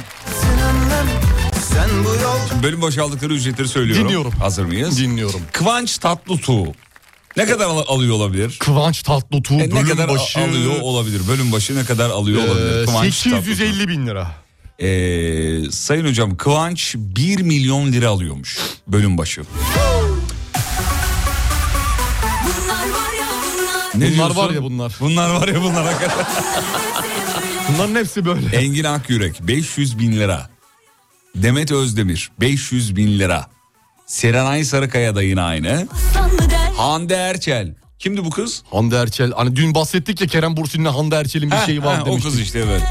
S15: Sen bu yol
S3: Şimdi bölüm başı aldıkları ücretleri söylüyorum.
S2: Dinliyorum.
S3: Hazır mıyız?
S2: Dinliyorum.
S3: Kıvanç Tatlıtuğ. Ne kadar al- alıyor olabilir?
S2: Kıvanç Tatlıtuğ
S3: E, ne
S2: bölüm
S3: kadar a-
S2: başı-
S3: alıyor olabilir? Bölüm başı ne kadar alıyor olabilir?
S2: Ee,
S3: Kıvanç
S2: 850 bin lira.
S3: Tatlıtuğ. Ee, sayın hocam Kıvanç 1 milyon lira alıyormuş bölüm başı. Ne
S2: bunlar var
S3: diyorsun?
S2: ya bunlar.
S3: Bunlar var ya bunlar hakikaten.
S2: Bunların hepsi böyle.
S3: Engin Akyürek 500 bin lira. Demet Özdemir 500 bin lira. Serenay Sarıkaya da yine aynı. Hande Erçel. Kimdi bu kız?
S2: Hande Erçel. Hani dün bahsettik ya Kerem Bursin'le Hande Erçel'in bir
S3: Heh,
S2: şeyi var
S3: heh, o
S2: demiştik.
S3: kız işte evet.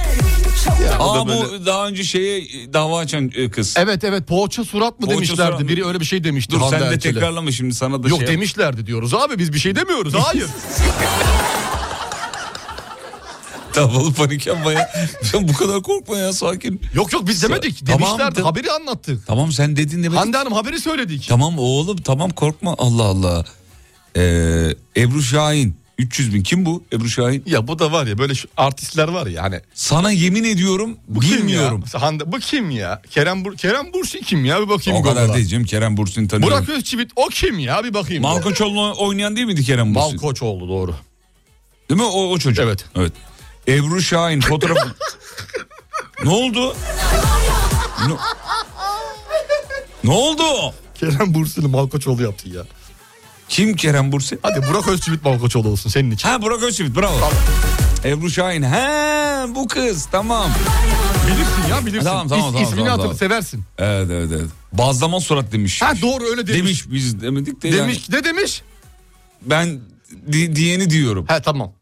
S2: Ya, o da
S3: Aa bu daha önce şeye e, dava açan e, kız.
S2: Evet evet poğaça surat mı
S3: Poğaça
S2: demişlerdi.
S3: surat mı?
S2: Biri öyle bir şey demişti
S3: Dur
S2: Hande
S3: sen de
S2: Erçel'e.
S3: tekrarlama şimdi sana da
S2: Yok
S3: şey yap-
S2: demişlerdi diyoruz abi biz bir şey demiyoruz. Hayır.
S3: <laughs> <laughs> Davalı panik yapma ya. Sen bu kadar korkma ya sakin.
S2: Yok yok biz demedik.
S3: Tamam,
S2: Demişlerdi.
S3: de-
S2: haberi anlattık.
S3: Tamam sen dedin demedik.
S2: Hande Hanım haberi söyledik.
S3: Tamam oğlum tamam korkma Allah Allah. Ee, Ebru Şahin 300 bin kim bu Ebru Şahin?
S2: Ya bu da var ya böyle şu artistler var ya hani.
S3: Sana yemin ediyorum
S2: Bu kim
S3: bilmiyorum.
S2: ya? Hande, bu kim ya? Kerem, Bur Kerem Bursin kim ya? Bir bakayım
S3: o kadar
S2: Google'a.
S3: değil canım Kerem Bursin'i tanıyorum.
S2: Burak Özçivit o kim ya? Bir bakayım.
S3: Malkoçoğlu'nu oynayan değil miydi Kerem Bursin?
S2: Malkoçoğlu doğru.
S3: Değil mi o, o çocuk? Evet. evet. Ebru
S2: <laughs>
S3: Şahin fotoğrafı... ne oldu? Ne, ne oldu?
S2: Kerem Bursin'i Malkoçoğlu yaptı ya.
S3: Kim Kerem Bursin?
S2: Hadi Burak Özçivit Malkoçoğlu olsun senin için.
S3: Ha Burak Özçivit bravo. Ebru Şahin. He bu kız tamam.
S2: Bilirsin ya bilirsin.
S3: Tamam, tamam,
S2: İs-
S3: tamam,
S2: ismini
S3: tamam,
S2: hatırla
S3: tamam.
S2: seversin.
S3: Evet evet evet. Bazlama surat demiş.
S2: Ha doğru öyle demiş.
S3: Demiş biz demedik de yani.
S2: Demiş ne demiş?
S3: Ben di- diyeni diyorum.
S2: He tamam.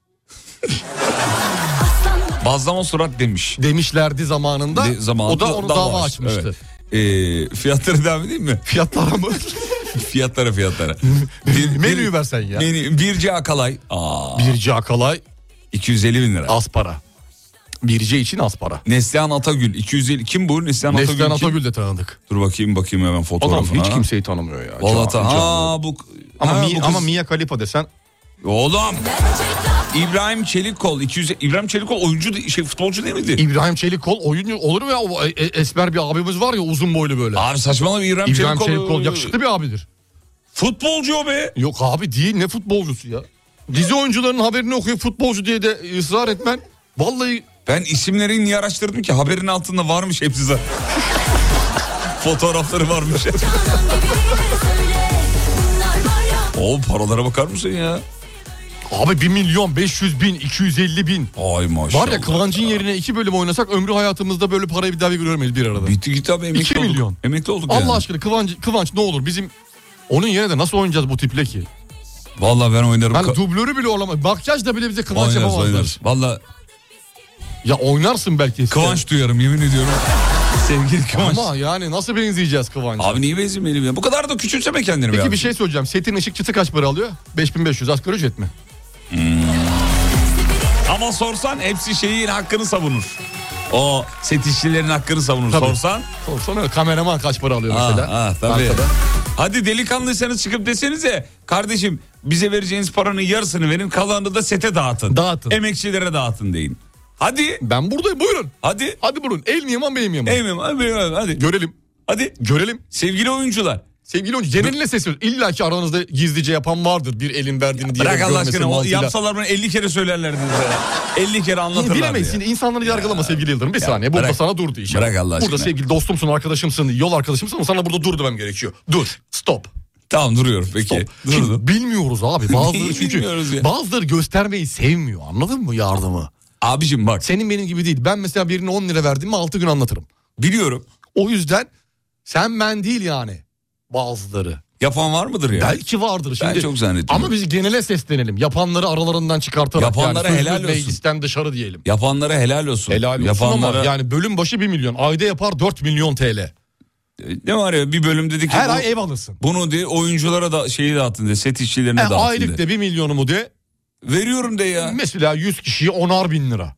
S3: Bazlama surat demiş.
S2: Demişlerdi zamanında.
S3: De- zamanında
S2: o da onu dava, açmıştı.
S3: Evet. Ee, fiyatları devam edeyim mi? <laughs>
S2: Fiyatlara mı?
S3: fiyatlara fiyatlara.
S2: Menüyü versen ya.
S3: Menü, Birce Akalay. Aa,
S2: Birce Akalay
S3: 250 bin lira.
S2: az para. Birce için az para.
S3: Neslihan Atagül 250 kim bu Neslihan,
S2: Neslihan
S3: Atagül? kim?
S2: Atagül de tanıdık.
S3: Dur bakayım bakayım hemen
S2: Adam
S3: fotoğrafına.
S2: hiç kimseyi tanımıyor ya.
S3: Vallahi
S2: Can-
S3: ta-
S2: can-
S3: ha bu
S2: Ama,
S3: ha,
S2: Mi-
S3: bu kız-
S2: ama Mia Khalifa desen
S3: Oğlum. İbrahim Çelikkol 200 İbrahim Çelikkol oyuncu de- şey futbolcu değil miydi?
S2: İbrahim Çelikkol oyuncu olur mu ya? O e- e- esmer bir abimiz var ya uzun boylu böyle.
S3: Abi saçmalama İbrahim,
S2: İbrahim
S3: Çelikkol.
S2: Çelikkol yakışıklı bir abidir.
S3: Futbolcu o be.
S2: Yok abi değil ne futbolcusu ya. Dizi oyuncularının haberini okuyup futbolcu diye de ısrar etmen. Vallahi
S3: Ben isimleri niye araştırdım ki? Haberin altında varmış hepsi zaten. <laughs> Fotoğrafları varmış. o paralara bakar mısın ya?
S2: abi 1 milyon 500 bin 250 bin.
S3: Ay maşallah.
S2: Var ya Kıvancın yerine iki bölüm oynasak ömrü hayatımızda böyle parayı bir daha bir görmeyiz bir arada.
S3: Bitti gitti abi emekli
S2: İki
S3: olduk.
S2: milyon.
S3: Emekli olduk
S2: Allah
S3: yani.
S2: aşkına Kıvanç, Kıvanç ne olur bizim onun yerine de nasıl oynayacağız bu tiple ki?
S3: Vallahi ben oynarım.
S2: Yani
S3: Ka-
S2: dublörü bile olamaz. Makyaj da bile bize Kıvanç
S3: oynarız
S2: yapamazlar.
S3: oynarız. Valla
S2: Ya oynarsın belki. işte.
S3: kıvanç duyarım yemin
S2: <laughs>
S3: ediyorum. Sevgili kıvanç.
S2: Ama yani nasıl benzeyeceğiz Kıvanç'a?
S3: Abi niye benzemeyelim ya? Bu kadar da küçülseme kendini
S2: Peki
S3: be abi.
S2: bir şey söyleyeceğim. Setin ışıkçısı kaç para alıyor? 5500 asgari ücret mi?
S3: Ama sorsan hepsi şeyin hakkını savunur. O set işçilerin hakkını savunur
S2: Tabii.
S3: sorsan.
S2: Sorsana öyle. kameraman kaç para alıyor mesela?
S3: Aa, aa, Ah, tabii.
S2: Arkada.
S3: Hadi delikanlıysanız çıkıp desenize kardeşim bize vereceğiniz paranın yarısını verin kalanını da sete dağıtın.
S2: Dağıtın.
S3: Emekçilere dağıtın deyin. Hadi
S2: Ben buradayım buyurun.
S3: hadi.
S2: Hadi buyurun. El mi yaman benim yaman?
S3: Eğmem hadi. hadi.
S2: Görelim.
S3: Hadi.
S2: Görelim.
S3: Sevgili oyuncular.
S2: Sevgili oyuncu Ceren'le sesliyoruz. İlla ki aranızda gizlice yapan vardır. Bir elin verdiğini diğer
S3: Bırak Allah
S2: görmesi
S3: aşkına o
S2: mantığıyla.
S3: yapsalar bunu 50 kere söylerlerdi bize. 50 kere anlatırlardı.
S2: Bilemeyiz
S3: ya.
S2: şimdi insanları yargılama sevgili Yıldırım. Bir
S3: Ya,
S2: saniye burada
S3: bırak.
S2: sana durdu işe.
S3: Bırak Allah
S2: Burada
S3: aşkına.
S2: sevgili dostumsun, arkadaşımsın, yol arkadaşımsın ama sana burada dur demem gerekiyor. Dur, stop.
S3: Tamam duruyorum peki.
S2: Stop.
S3: Durdum.
S2: Şimdi bilmiyoruz
S3: <laughs>
S2: abi. Bazıları çünkü
S3: Bilmiyoruz ya.
S2: bazıları göstermeyi sevmiyor. Anladın mı yardımı?
S3: Abicim bak
S2: Senin benim gibi değil. Ben mesela birine 10 lira verdim mi 6 gün anlatırım.
S3: biliyorum.
S2: O yüzden sen ben değil yani bazıları.
S3: Yapan var mıdır ya?
S2: Belki vardır şimdi.
S3: Ben çok zannediyorum.
S2: Ama biz genele seslenelim. Yapanları aralarından çıkartarak
S3: Yapanlara
S2: yani sözlü
S3: helal olsun.
S2: meclisten dışarı diyelim.
S3: Yapanlara helal olsun.
S2: Helal olsun
S3: Yapanlara-
S2: ama yani bölüm başı 1 milyon. Ayda yapar 4 milyon TL.
S3: Ne var ya bir bölüm dedi ki
S2: Her
S3: bu-
S2: ay ev alırsın.
S3: Bunu de oyunculara da şeyi dağıtın de set işçilerine
S2: E,
S3: dağıtın
S2: aylık
S3: de.
S2: de 1 milyonumu de.
S3: Veriyorum de ya.
S2: Mesela 100 kişiye 10'ar bin lira.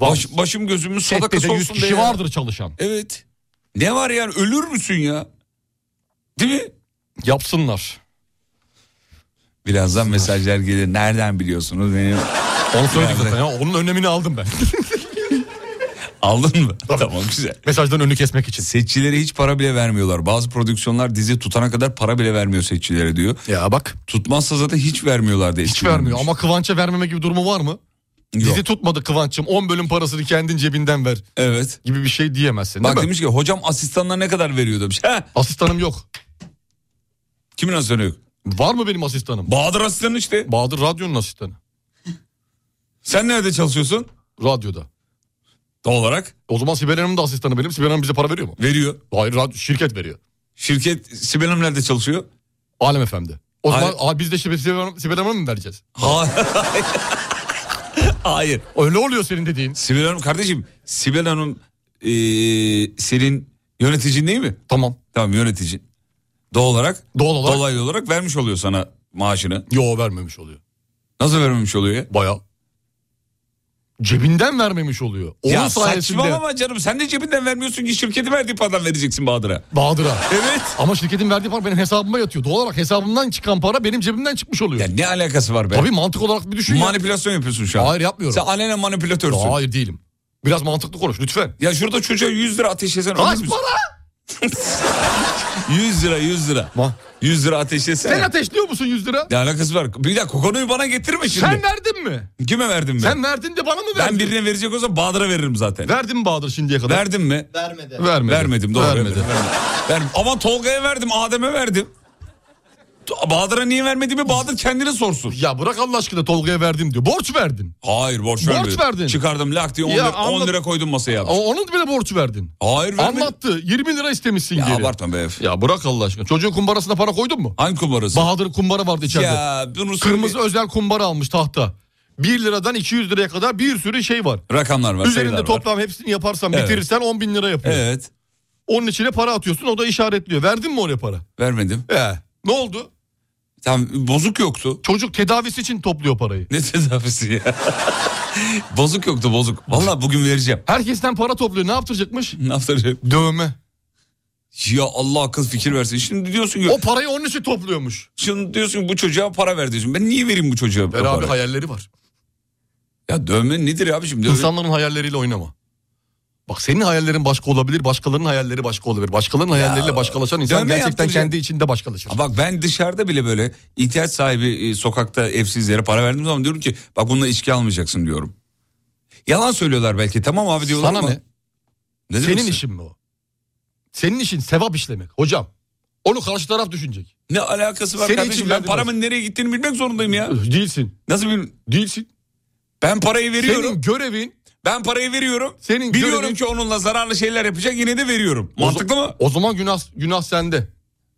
S3: Baş- başım gözümün
S2: Sette
S3: sadakası
S2: de
S3: olsun
S2: 100
S3: de
S2: kişi
S3: ya.
S2: vardır çalışan.
S3: Evet. Ne var yani ölür müsün ya? Değil mi?
S2: Yapsınlar.
S3: Birazdan mesajlar gelir. Nereden biliyorsunuz benim?
S2: Onu söyledik zaten ya. Onun önlemini aldım ben. <laughs>
S3: Aldın mı? Tamam güzel.
S2: Mesajdan önünü kesmek için.
S3: Setçilere hiç para bile vermiyorlar. Bazı prodüksiyonlar dizi tutana kadar para bile vermiyor setçilere diyor.
S2: Ya bak.
S3: Tutmazsa zaten hiç vermiyorlar de.
S2: Hiç vermiyor ama Kıvanç'a vermeme gibi durumu var mı? Dizi tutmadı Kıvanç'ım 10 bölüm parasını kendin cebinden ver.
S3: Evet.
S2: Gibi bir şey diyemezsin
S3: Bak
S2: değil mi?
S3: demiş ki hocam asistanlar ne kadar veriyor demiş. Heh.
S2: Asistanım yok.
S3: Kimin asistanı yok?
S2: Var mı benim asistanım?
S3: Bahadır asistanı işte.
S2: Bahadır radyonun asistanı.
S3: Sen nerede çalışıyorsun?
S2: Radyoda.
S3: Doğal olarak?
S2: O zaman Sibel Hanım da asistanı benim. Sibel Hanım bize para veriyor mu?
S3: Veriyor.
S2: Hayır radyo, şirket veriyor.
S3: Şirket Sibel Hanım nerede çalışıyor?
S2: Alem Efendi. O zaman
S3: Alem-
S2: aa, biz de Sibel, Sibel, Hanım- Sibel Hanım'a mı vereceğiz?
S3: <laughs> Hayır.
S2: Öyle oluyor senin dediğin.
S3: Sibel Hanım kardeşim Sibel Hanım eee, senin yöneticin değil mi?
S2: Tamam.
S3: Tamam yöneticin. Doğal olarak,
S2: Doğal olarak-
S3: dolaylı olarak vermiş oluyor sana maaşını.
S2: Yo vermemiş oluyor.
S3: Nasıl vermemiş oluyor ya?
S2: Baya. Cebinden vermemiş oluyor. Onun
S3: ya
S2: sayesinde
S3: saçmalama canım sen de cebinden vermiyorsun ki şirketi verdiği paradan vereceksin Bahadır'a.
S2: Bahadır'a.
S3: Evet.
S2: Ama şirketin verdiği para benim hesabıma yatıyor. Doğal olarak hesabımdan çıkan para benim cebimden çıkmış oluyor.
S3: Ya ne alakası var be?
S2: Tabii mantık olarak bir düşün ya.
S3: Manipülasyon yapıyorsun şu an.
S2: Hayır, yapmıyorum.
S3: Sen alenen manipülatörsün.
S2: Ya Hayır değilim. Biraz mantıklı konuş lütfen.
S3: Ya şurada çocuğa 100 lira ateşlesen
S2: Kaç
S3: olmaz mı?
S2: para?
S3: 100 lira 100 lira. 100 lira ateşlesene.
S2: Sen ateşliyor musun 100 lira?
S3: Ne alakası var? Bir dakika konuyu bana getirme şimdi.
S2: Sen verdin mi?
S3: Kime verdim ben?
S2: Sen verdin de bana mı verdin?
S3: Ben birine verecek olsam Bahadır'a veririm zaten.
S2: Verdim Bahadır şimdiye kadar.
S3: Verdim mi?
S13: Vermedi.
S2: Vermedi.
S3: Vermedim doğru.
S2: Vermedi.
S3: Vermedim. Vermedim. Ama Tolga'ya verdim, Adem'e verdim. To- Bahadır'a niye vermediğimi Bahadır kendine sorsun.
S2: Ya bırak Allah aşkına Tolga'ya verdim diyor. Borç verdin.
S3: Hayır borç
S2: Borç
S3: vermedim.
S2: verdin.
S3: Çıkardım lak diye 10,
S2: Ya
S3: lira, on
S2: anlat-
S3: lira koydum masaya.
S2: O- Onun bile borç verdin.
S3: Hayır vermedim.
S2: Anlattı. 20 lira istemişsin
S3: Ya
S2: geri.
S3: abartma be. herif.
S2: Ya bırak Allah aşkına. Çocuğun kumbarasına para koydun mu?
S3: Hangi kumbarası?
S2: Bahadır'ın kumbara vardı içeride.
S3: Ya bunu söyle-
S2: Kırmızı özel kumbara almış tahta. 1 liradan 200 liraya kadar bir sürü şey var.
S3: Rakamlar var. sayılar
S2: Üzerinde
S3: var.
S2: toplam hepsini yaparsan
S3: Evet.
S2: bitirirsen 10 bin lira yapıyor.
S3: Evet.
S2: Onun içine para atıyorsun o da işaretliyor. Verdin mi oraya para?
S3: Vermedim.
S2: He. Ne oldu?
S3: Tam bozuk yoktu.
S2: Çocuk tedavisi için topluyor parayı.
S3: Ne tedavisi ya? <laughs> bozuk yoktu bozuk. Vallahi bugün vereceğim.
S2: Herkesten para topluyor. Ne yaptıracakmış?
S3: Ne yapacağım?
S2: Dövme.
S3: Ya Allah akıl fikir versin. Şimdi diyorsun ki
S2: O parayı onun için topluyormuş.
S3: Şimdi diyorsun ki bu çocuğa para ver diyorsun. Ben niye vereyim bu çocuğa bu
S2: Ver abi
S3: parayı?
S2: hayalleri var.
S3: Ya dövme nedir abiciğim? Dövme...
S2: İnsanların hayalleriyle oynama. Bak senin hayallerin başka olabilir, başkalarının hayalleri başka olabilir. Başkalarının hayalleriyle başkalaşan insan
S3: dövme
S2: gerçekten
S3: yaptıracak.
S2: kendi içinde başkalaşır.
S3: Ha Bak ben dışarıda bile böyle ihtiyaç sahibi e, sokakta evsizlere para verdiğim zaman diyorum ki bak bununla içki almayacaksın diyorum. Yalan söylüyorlar belki tamam abi diyorlar
S2: Sana
S3: ama.
S2: ne?
S3: ne demek
S2: Senin
S3: sen?
S2: işin mi o? Senin işin sevap işlemek. Hocam onu karşı taraf düşünecek.
S3: Ne alakası var
S2: Senin
S3: kardeşim
S2: için
S3: ben
S2: verdim
S3: paramın nereye gittiğini bilmek zorundayım ya.
S2: Değilsin.
S3: Nasıl bir
S2: Değilsin.
S3: ben parayı veriyorum.
S2: Senin görevin
S3: Ben parayı veriyorum.
S2: Senin
S3: Biliyorum
S2: görevin-
S3: ki onunla zararlı şeyler yapacak yine de veriyorum. Mantıklı
S2: o, za-
S3: mı?
S2: O zaman günah günah sende.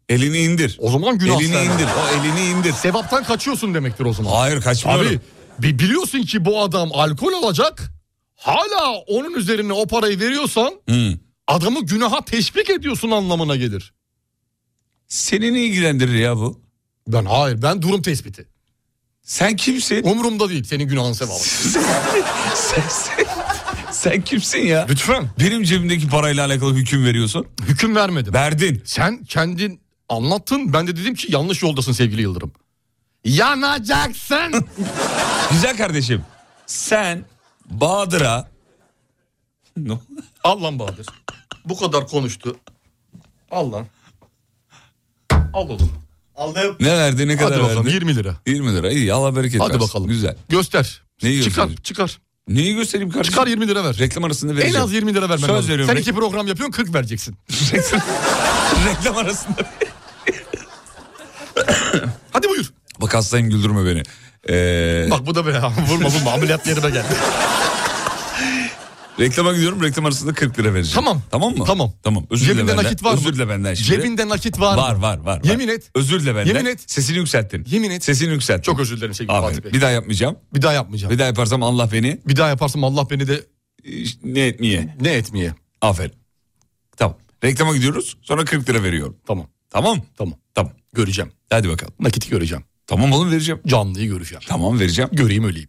S3: Elini indir.
S2: O zaman günah
S3: Elini
S2: sende.
S3: indir. O elini indir.
S2: Sevaptan kaçıyorsun demektir o zaman.
S3: Hayır kaçmıyorum.
S2: Abi bi- biliyorsun ki bu adam alkol alacak. Hala onun üzerine o parayı veriyorsan
S3: Hı.
S2: adamı günaha teşvik ediyorsun anlamına gelir.
S3: Seni ne ilgilendirir ya bu?
S2: Ben hayır ben durum tespiti.
S3: Sen kimsin?
S2: Umurumda değil senin günahın sevabı.
S3: sen, sen- sen kimsin ya?
S2: Lütfen.
S3: Benim cebimdeki parayla alakalı hüküm veriyorsun.
S2: Hüküm vermedim.
S3: Verdin.
S2: Sen kendin anlattın. Ben de dedim ki yanlış yoldasın sevgili Yıldırım. Yanacaksın.
S3: Güzel kardeşim. Sen Bahadır'a... <laughs> Ne oldu?
S2: <laughs> Al lan Bahadır. Bu kadar konuştu. Al lan. Al oğlum.
S13: Aldım.
S3: ne verdi ne kadar
S2: Hadi bakalım
S3: verdi?
S2: 20 lira.
S3: 20 lira iyi Allah bereket
S2: Hadi
S3: versin.
S2: bakalım.
S3: Güzel.
S2: Göster.
S3: Neyi
S2: çıkar,
S3: göstereyim?
S2: çıkar.
S3: Neyi göstereyim kardeşim?
S2: Çıkar 20 lira ver.
S3: Reklam arasında
S2: En
S3: vereceğim.
S2: az 20 lira vermen
S3: Söz
S2: lazım.
S3: veriyorum.
S2: Sen
S3: Re-
S2: iki program yapıyorsun 40 vereceksin.
S3: Reklam, <laughs> reklam arasında.
S2: Hadi buyur.
S3: Bak hastayım güldürme beni. Ee,
S2: <laughs> Bak bu da be. Vurma vurma ameliyat yerime geldi.
S3: Reklama gidiyorum reklam arasında 40 lira vereceğim. Tamam. Tamam mı? Tamam. Tamam. Özür dile
S2: Cebinde
S3: benden.
S2: nakit var mı?
S3: Özür dile benden şimdi.
S2: Cebinde nakit var mı?
S3: Var var var.
S2: Yemin et.
S3: Özür dile benden.
S2: Yemin et.
S3: Sesini yükselttin. Yemin et. Sesini yükselttin. Çok özür dilerim sevgili
S2: Fatih Bey.
S3: Bir daha yapmayacağım.
S2: Bir daha yapmayacağım.
S3: Bir daha yaparsam Allah beni.
S2: Bir daha yaparsam Allah beni de...
S3: Ne etmeye? Ne etmeye? Aferin. Tamam. Reklama gidiyoruz. Sonra 40 lira veriyorum. Tamam. Tamam. Tamam. Tamam. Göreceğim. Hadi bakalım. Nakiti göreceğim. Tamam oğlum vereceğim. Canlıyı göreceğim. Tamam vereceğim. Göreyim öleyim.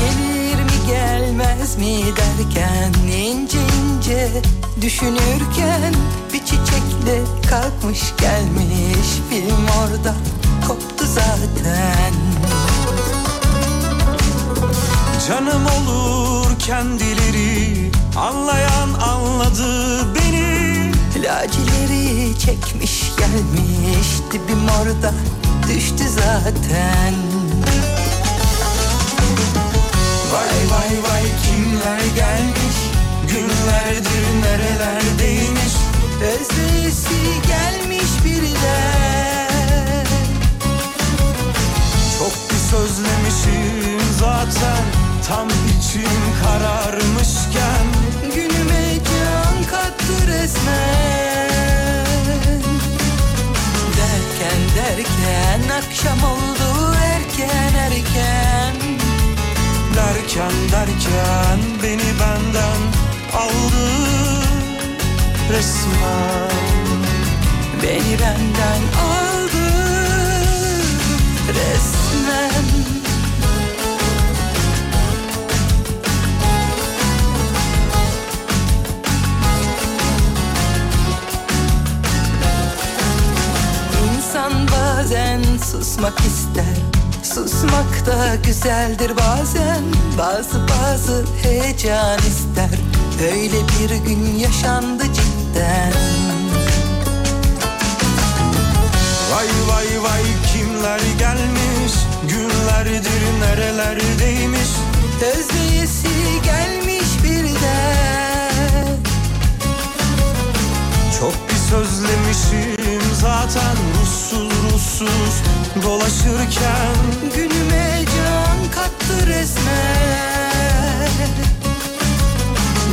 S16: Gelir mi gelmez mi derken ince ince düşünürken bir çiçekle kalkmış gelmiş film orada koptu zaten.
S5: Canım olur kendileri Anlayan anladı beni
S16: Lacileri çekmiş gelmiş dibim orada düştü zaten.
S5: Vay vay vay kimler gelmiş Günlerdir nerelerdeymiş
S16: Özlesi gelmiş birden
S5: Çok bir sözlemişim zaten Tam içim kararmışken
S16: Günüme can kattı resmen Derken derken akşam oldu erken erken
S5: Derken derken beni benden aldı resmen
S16: Beni benden aldı resmen İnsan bazen susmak ister Susmak da güzeldir bazen Bazı bazı heyecan ister Öyle bir gün yaşandı cidden
S5: Vay vay vay kimler gelmiş Günlerdir nerelerdeymiş
S16: Özleyesi gelmiş birden
S5: Çok bir sözlemişim zaten Ruhsuz ruhsuz dolaşırken
S16: Günüme can kattı resmen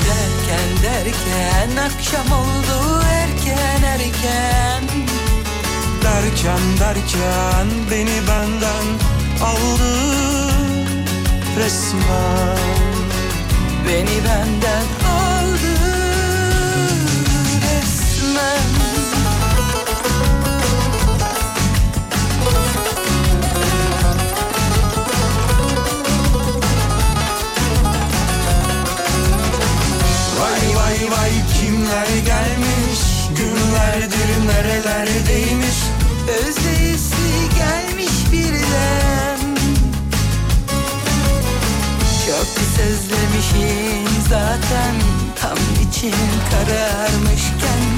S16: Derken derken akşam oldu erken erken
S5: Derken derken beni benden aldı resmen
S16: Beni benden aldı resmen
S5: Vay vay vay kimler gelmiş Günlerdir nerelerdeymiş
S16: Özleyesi gelmiş birden Çok bir sözlemişim zaten Tam için kararmışken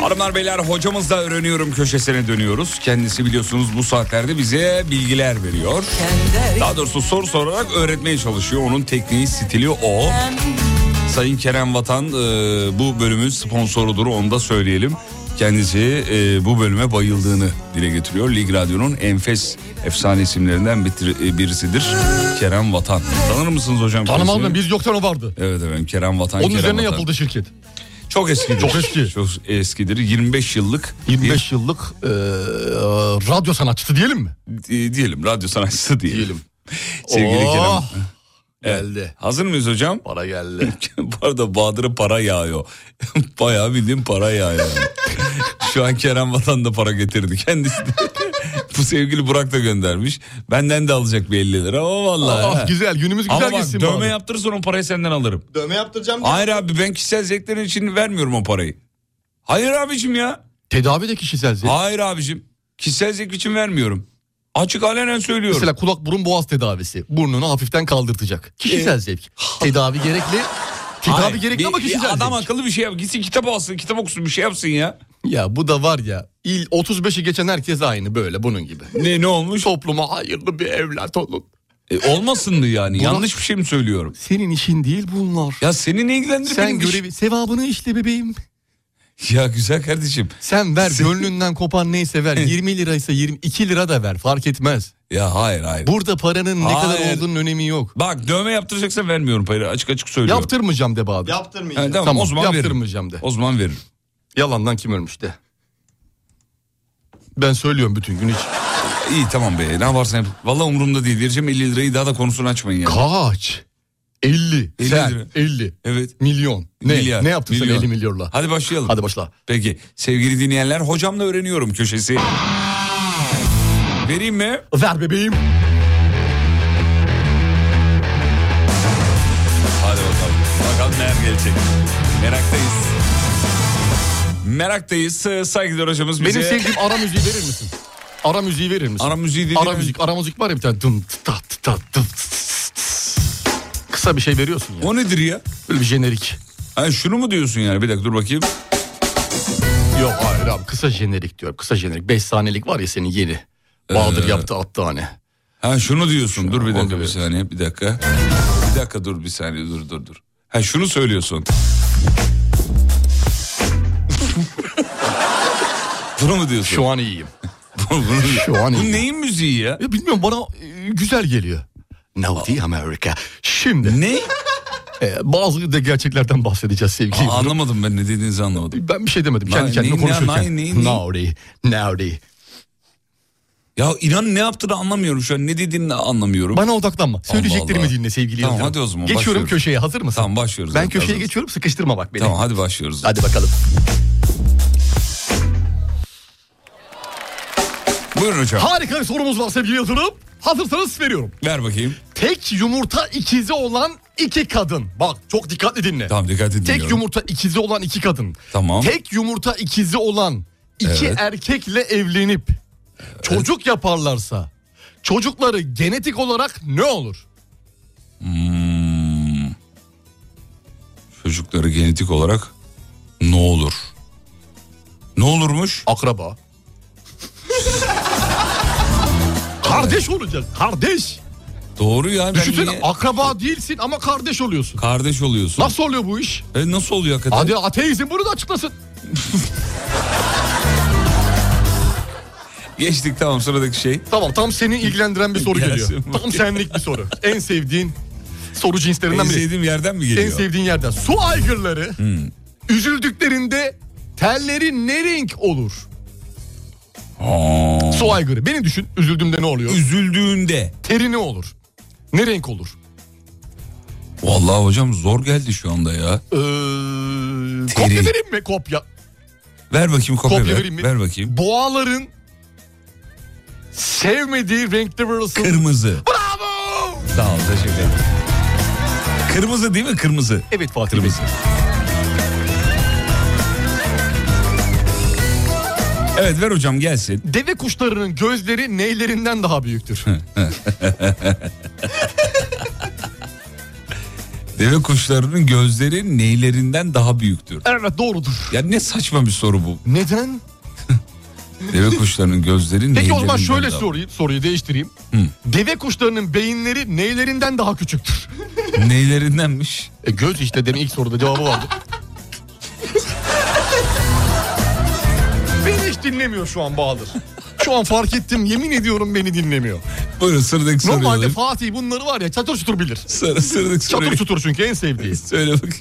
S3: Hanımlar beyler hocamızla öğreniyorum köşesine dönüyoruz. Kendisi biliyorsunuz bu saatlerde bize bilgiler veriyor. Daha doğrusu soru sorarak öğretmeye çalışıyor. Onun tekniği, stili o. Sayın Kerem Vatan e, bu bölümün sponsorudur onu da söyleyelim. Kendisi e, bu bölüme bayıldığını dile getiriyor. Lig Radyo'nun enfes efsane isimlerinden bitir- e, birisidir Kerem Vatan. Tanır mısınız hocam?
S2: Tanımam
S3: kendisini?
S2: ben biz yoktan o vardı.
S3: Evet efendim Kerem Vatan.
S2: Onun
S3: Kerem
S2: üzerine
S3: Vatan.
S2: yapıldı şirket.
S3: Çok eskidir.
S2: Çok eski.
S3: Çok eskidir. 25 yıllık.
S2: 25 yıllık e, radyo sanatçısı diyelim mi?
S3: Di- e, diyelim radyo sanatçısı diyelim. Sevgili
S2: Oh,
S3: Kerem. Geldi. hazır mıyız hocam? Para geldi. <laughs> Bu arada Bahadır'a para yağıyor. <laughs> Bayağı bildiğim para yağıyor. <laughs> Şu an Kerem Vatan da para getirdi kendisi de. <laughs> Bu sevgili Burak da göndermiş. Benden de alacak bir 50 lira. O vallahi.
S2: <laughs> Ah,
S3: ha.
S2: güzel, günümüz güzel
S3: Ama bak,
S2: geçsin
S3: dövme
S2: Bahadır.
S3: yaptırırsan o parayı senden alırım.
S17: Dövme yaptıracağım.
S3: Hayır abi ben kişisel zevklerin için vermiyorum o parayı. Hayır abicim ya.
S2: Tedavi de kişisel zevk.
S3: Hayır abicim. Kişisel zevk için vermiyorum. Açık alenen söylüyorum.
S2: Mesela kulak burun boğaz tedavisi. Burnunu hafiften kaldırtacak. Kişisel zevk. Tedavi gerekli. Tedavi
S3: Hayır,
S2: gerekli
S3: bir-
S2: ama
S3: bir
S2: kişisel zevk.
S3: Adam akıllı bir şey yap. Gitsin kitap alsın, kitap okusun bir şey yapsın ya.
S2: Ya bu da var ya. İl 35'i geçen herkes aynı böyle bunun gibi.
S3: Ne ne olmuş?
S2: Topluma hayırlı bir evlat olun.
S3: E, olmasındı yani.
S2: Buna-
S3: Yanlış bir şey mi söylüyorum?
S2: Senin işin değil bunlar.
S3: Ya seni ne ilgilendirir
S2: Sen
S3: benim iş-
S2: görevi, sevabını işle bebeğim.
S3: Ya güzel kardeşim.
S2: Sen ver gönlünden kopan neyse ver. 20 liraysa 22 lira da ver fark etmez.
S3: Ya hayır hayır.
S2: Burada paranın ne kadar
S3: Hayır.
S2: olduğunun önemi yok.
S3: Bak dövme yaptıracaksan vermiyorum parayı. Açık açık söylüyorum.
S2: Yaptırmayacağım de be abi.
S3: Ha, tamam, o zaman
S2: yaptırmayacağım
S3: veririm.
S2: de.
S3: O zaman veririm.
S2: Yalandan kim ölmüş de. Ben söylüyorum bütün gün hiç.
S3: İyi tamam be ne yaparsan yap. Valla umurumda değil. Vereceğim 50 lirayı daha da konusunu açmayın yani.
S2: Kaç? 50.
S3: 50
S2: Sen
S3: lira.
S2: 50.
S3: Evet.
S2: Milyon. Ne?
S3: Milyar,
S2: Ne yaptın sen
S3: milyon.
S2: 50 milyonla?
S3: Hadi başlayalım.
S2: Hadi başla.
S3: Peki sevgili dinleyenler hocamla öğreniyorum köşesi. Vereyim mi?
S2: Ver bebeğim.
S3: Hadi bakalım. Bakalım neler gelecek. Meraktayız. Meraktayız. Ee, Saygılar hocamız bize.
S2: Benim sevdiğim ara müziği verir misin? Ara müziği verir misin?
S3: Ara müziği dediğin-
S2: Ara müzik, ara müzik var ya bir tane. Dum, tı, ta, tı, ta, tı, tı, tı, tı. Kısa bir şey veriyorsun ya.
S3: O nedir ya?
S2: Böyle bir jenerik.
S3: Ha, şunu mu diyorsun yani? Bir dakika dur bakayım.
S2: Yok hayır abi kısa jenerik diyorum. Kısa jenerik. 5 saniyelik var ya senin yeni. Bahadır
S3: Ee,
S2: yaptı attı hani.
S3: Ha şunu diyorsun. dur bir
S2: onu
S3: dakika bir
S2: diyorsun.
S3: saniye. Bir dakika. Bir dakika dur bir saniye dur dur dur. Ha şunu söylüyorsun. <laughs> Bunu mu diyorsun? <laughs>
S2: Şu an iyiyim. Şu an
S3: Bu
S2: iyiyim.
S3: neyin müziği ya?
S2: Ya bilmiyorum bana e, güzel geliyor. Naughty America. Şimdi.
S3: Ne?
S2: E, bazı da gerçeklerden bahsedeceğiz sevgili.
S3: Aa, anlamadım ben ne dediğinizi anlamadım.
S2: Ben bir şey demedim. Kendi
S3: Neyin-
S2: kendime
S3: neyin-
S2: konuşurken.
S3: neyin- neyin- neyin?
S2: Naughty, naughty.
S3: Ya inan ne yaptığını anlamıyorum şu an. Ne dediğini anlamıyorum.
S2: Bana odaklanma. Söyleyeceklerimi
S3: Allah.
S2: dinle sevgili
S3: Tamam,
S2: Yıldırım.
S3: hadi o zaman,
S2: Geçiyorum
S3: başlıyoruz.
S2: köşeye hazır mısın?
S3: Tamam, başlıyoruz.
S2: Ben
S3: Evet,
S2: köşeye
S3: hazırız.
S2: geçiyorum sıkıştırma bak beni.
S3: Tamam hadi başlıyoruz.
S2: Hadi bakalım.
S3: Buyurun hocam.
S2: Harika bir sorumuz var sevgili Yıldırım. Hazırsanız veriyorum.
S3: Ver bakayım.
S2: Tek yumurta ikizi olan iki kadın. Bak çok dikkatli dinle.
S3: Tamam dikkat edin.
S2: Tek yumurta ikizi olan iki kadın.
S3: Tamam.
S2: Tek yumurta ikizi olan iki
S3: Evet.
S2: erkekle evlenip çocuk yaparlarsa çocukları genetik olarak ne olur?
S3: Çocukları genetik olarak ne olur? Ne olurmuş?
S2: Akraba. Kardeş olacak. Kardeş.
S3: Doğru ya. ben
S2: Düşünsene
S3: niye-
S2: akraba değilsin ama kardeş oluyorsun.
S3: Kardeş oluyorsun.
S2: Nasıl oluyor bu iş?
S3: E, nasıl oluyor hakikaten?
S2: Hadi ateizm bunu da açıklasın.
S3: Geçtik tamam sıradaki şey.
S2: Tamam tam seni ilgilendiren bir soru
S3: Gelsin
S2: geliyor. Tam senlik bir soru. En sevdiğin soru cinslerinden
S3: En
S2: biri.
S3: sevdiğim yerden mi
S2: En
S3: geliyor?
S2: sevdiğin yerden. Su aygırları üzüldüklerinde telleri ne renk olur?
S3: Aa.
S2: Su aygırı. Beni düşün. Üzüldüğümde ne oluyor?
S3: Üzüldüğünde.
S2: Teri ne olur? Ne renk olur?
S3: Vallahi hocam zor geldi şu anda ya.
S2: Ee, kopya vereyim mi? Kopya.
S3: Ver bakayım kopya,
S2: Kopya
S3: ver.
S2: vereyim mi?
S3: Ver bakayım.
S2: Boğaların sevmediği renkte varılsın.
S3: Kırmızı.
S2: Bravo!
S3: Sağ ol teşekkür ederim. Kırmızı değil mi kırmızı?
S2: Evet Fatih Bey.
S3: Evet ver hocam gelsin.
S2: Deve kuşlarının gözleri neylerinden daha büyüktür?
S3: Deve kuşlarının gözleri neylerinden daha büyüktür?
S2: evet doğrudur.
S3: Ya ne saçma bir soru bu.
S2: Neden?
S3: Deve kuşlarının gözleri
S2: Peki
S3: neylerinden
S2: o zaman şöyle
S3: daha-
S2: soruyu, soruyu değiştireyim.
S3: Hı.
S2: Deve kuşlarının beyinleri neylerinden daha küçüktür?
S3: Neylerindenmiş?
S2: E göz işte demin ilk soruda cevabı vardı. beni hiç dinlemiyor şu an Bahadır. Şu an fark ettim yemin ediyorum beni dinlemiyor.
S3: Buyurun sıradaki soruyu
S2: Normalde
S3: alayım.
S2: Fatih bunları var ya çatır çutur bilir.
S3: Sıra, sıradaki soruyu.
S2: Çatır çutur çünkü en sevdiği.
S3: Söyle bak.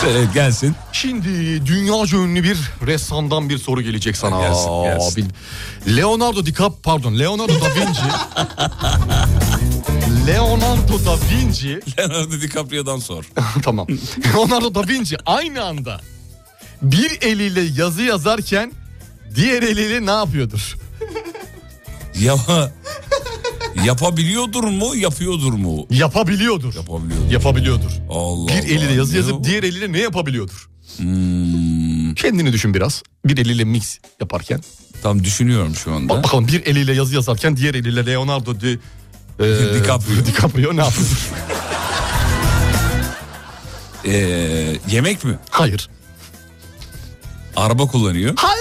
S3: Söyle gelsin.
S2: Şimdi dünyaca ünlü bir ressamdan bir soru gelecek sana.
S3: Gelsin, gelsin.
S2: Bil- Leonardo DiCap pardon Leonardo da
S3: <laughs>
S2: Vinci. Leonardo da Vinci <laughs>
S3: Leonardo DiCaprio'dan sor.
S2: tamam. Leonardo da Vinci aynı anda bir eliyle yazı yazarken diğer eliyle ne yapıyordur?
S3: Ya yapabiliyordur mu, yapıyordur mu?
S2: Yapabiliyordur.
S3: Yapabiliyordur.
S2: Yapabiliyordur.
S3: Allah
S2: Bir eliyle
S3: Allah,
S2: yazı
S3: ne
S2: yazıp
S3: o?
S2: diğer eliyle ne yapabiliyordur?
S3: Hmm,
S2: Kendini düşün biraz. Bir eliyle mix yaparken
S3: Tam düşünüyorum şu anda.
S2: Bak bakalım bir eliyle yazı yazarken diğer eliyle Leonardo di, e, <laughs>
S3: DiCaprio.
S2: DiCaprio ne
S3: <laughs>
S2: yapıyor?
S3: Ee, yemek mi?
S2: Hayır.
S3: Araba kullanıyor.
S2: Hayır.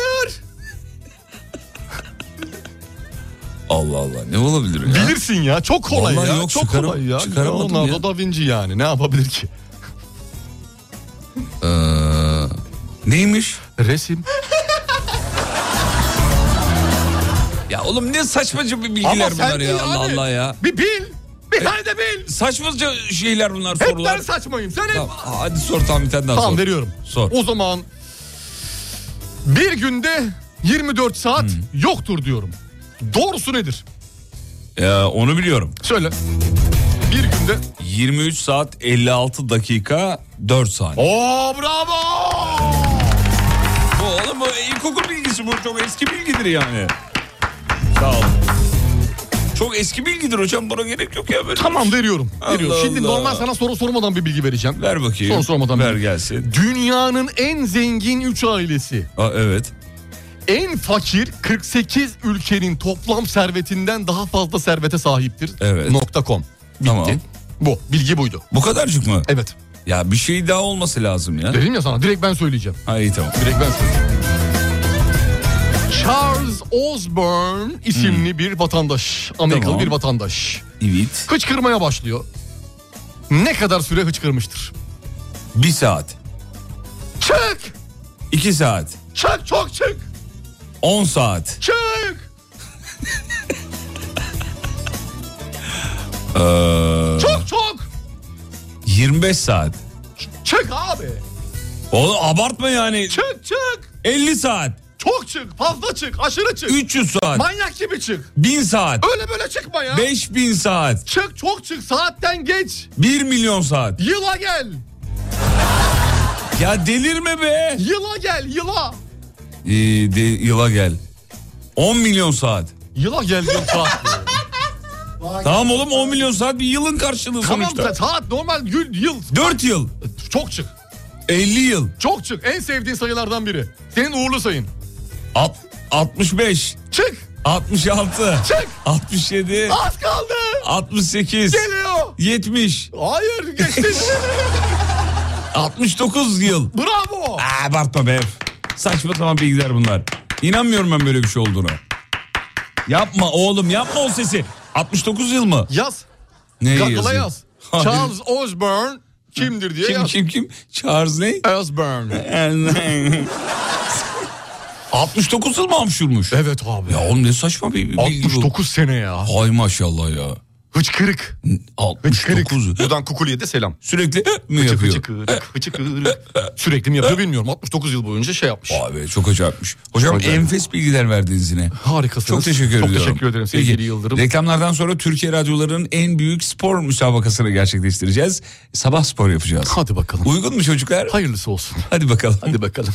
S3: Allah Allah ne olabilir ya?
S2: Bilirsin ya çok kolay
S3: Vallahi
S2: ya.
S3: yok,
S2: çok
S3: çıkaram-
S2: kolay ya.
S3: çıkaramadım
S2: Leonardo
S3: ya.
S2: da Vinci yani ne yapabilir ki?
S3: neymiş?
S2: Resim.
S3: Ya oğlum ne saçmaca bir bilgiler
S2: Ama sen
S3: bunlar ya
S2: değil
S3: Allah
S2: abi.
S3: Allah ya.
S2: Bir bil. Bir tane de bil.
S3: Saçmaca şeyler bunlar sorular.
S2: Ben saçmayım. Sen hep...
S3: Tamam, hadi sor tamam bir tane daha
S2: Tamam
S3: sor.
S2: veriyorum.
S3: Sor.
S2: O zaman bir günde 24 saat
S3: Hmm.
S2: yoktur diyorum. Doğrusu nedir?
S3: Ee, onu biliyorum.
S2: Söyle. Bir günde...
S3: 23 saat 56 dakika 4 saniye.
S2: Oo bravo!
S3: Bu oğlum bu ilkokul bilgisi bu çok eski bilgidir yani. Sağ ol. Çok eski bilgidir hocam buna gerek yok ya böyle.
S2: Tamam veriyorum.
S3: Allah
S2: veriyorum. Şimdi
S3: Allah.
S2: normal sana soru sormadan bir bilgi vereceğim.
S3: Ver bakayım.
S2: Soru sormadan
S3: Ver
S2: bir-
S3: gelsin.
S2: Dünyanın en zengin 3 ailesi.
S3: Aa, evet.
S2: En fakir 48 ülkenin toplam servetinden daha fazla servete sahiptir.
S3: Evet.
S2: Nokta com.
S3: Tamam.
S2: Bu bilgi buydu.
S3: Bu kadarcık mı?
S2: Evet.
S3: Ya bir şey daha olması lazım ya.
S2: Dedim ya sana direkt ben söyleyeceğim.
S3: Ha iyi tamam.
S2: Direkt ben söyleyeceğim. Charles Osborne isimli bir vatandaş. Amerikalı
S3: Hmm. Tamam.
S2: bir vatandaş.
S3: Evet.
S2: Hıçkırmaya başlıyor. Ne kadar süre hıçkırmıştır?
S3: Bir saat.
S2: Çık!
S3: iki saat.
S2: Çık çok çık!
S3: 10 saat.
S2: Çık!
S3: Ee,
S2: Çok çok!
S3: 25 saat.
S2: Çık abi!
S3: Oğlum abartma yani.
S2: Çık çık!
S3: 50 saat.
S2: Çok çık! Fazla çık! Aşırı çık!
S3: 300 saat.
S2: Manyak gibi çık!
S3: 1000 saat.
S2: Öyle böyle çıkma ya!
S3: 5000 saat.
S2: Çık çok çık! Saatten geç!
S3: 1 milyon saat.
S2: Yıla gel!
S3: Ya delirme be.
S2: Yıla gel! Yıla!
S3: Ee, de, yıla gel. 10 milyon saat.
S2: Yıla gel diyorum saat.
S3: Tamam oğlum 10 milyon saat bir yılın karşılığı
S2: tamam
S3: sonuçta.
S2: saat normal yıl, yıl.
S3: 4 yıl.
S2: Çok çık!
S3: 50 yıl.
S2: Çok çık! En sevdiğin sayılardan biri. Senin uğurlu sayın.
S3: Alt- 65.
S2: Çık!
S3: 66.
S2: Çık!
S3: 67.
S2: Az kaldı!
S3: 68.
S2: Geliyor!
S3: 70.
S2: Hayır geçti.
S3: 69 yıl.
S2: Bravo.
S3: Aa, abartma be. Saçma sapan bilgiler bunlar. İnanmıyorum ben böyle bir şey olduğunu. Yapma oğlum yapma o sesi. 69 yıl mı?
S2: Yaz.
S3: Ne
S2: Google'a
S3: yazayım?
S2: yaz.
S3: Hayır.
S2: Charles Osborne kimdir diye
S3: Kim
S2: yaz.
S3: kim kim?
S2: <laughs>
S3: Charles ne?
S2: Osborne.
S3: 69 yıl mı hapşurmuş?
S2: Evet abi.
S3: Ya oğlum ne saçma bir bir bilgi bu.
S2: 69 sene ya.
S3: Hay maşallah ya.
S2: Hıçkırık.
S3: 69.
S2: Buradan Kukuli'ye de selam.
S3: Sürekli mi
S2: Hıçık
S3: yapıyor?
S2: hıçıkırık, hıçıkırık. Sürekli mi yapıyor bilmiyorum. 69 yıl boyunca şey yapmış.
S3: Vay be çok acayipmiş. Hocam
S2: Acayip.
S3: enfes bilgiler verdiniz yine.
S2: Harikasınız.
S3: Çok teşekkür
S2: Çok
S3: ediyorum.
S2: teşekkür ederim sevgili
S3: Peki,
S2: Yıldırım.
S3: Reklamlardan sonra Türkiye radyolarının en büyük spor müsabakasını gerçekleştireceğiz. Sabah spor yapacağız.
S2: Hadi bakalım.
S3: Uygun mu çocuklar?
S2: Hayırlısı olsun.
S3: Hadi bakalım.
S2: Hadi bakalım.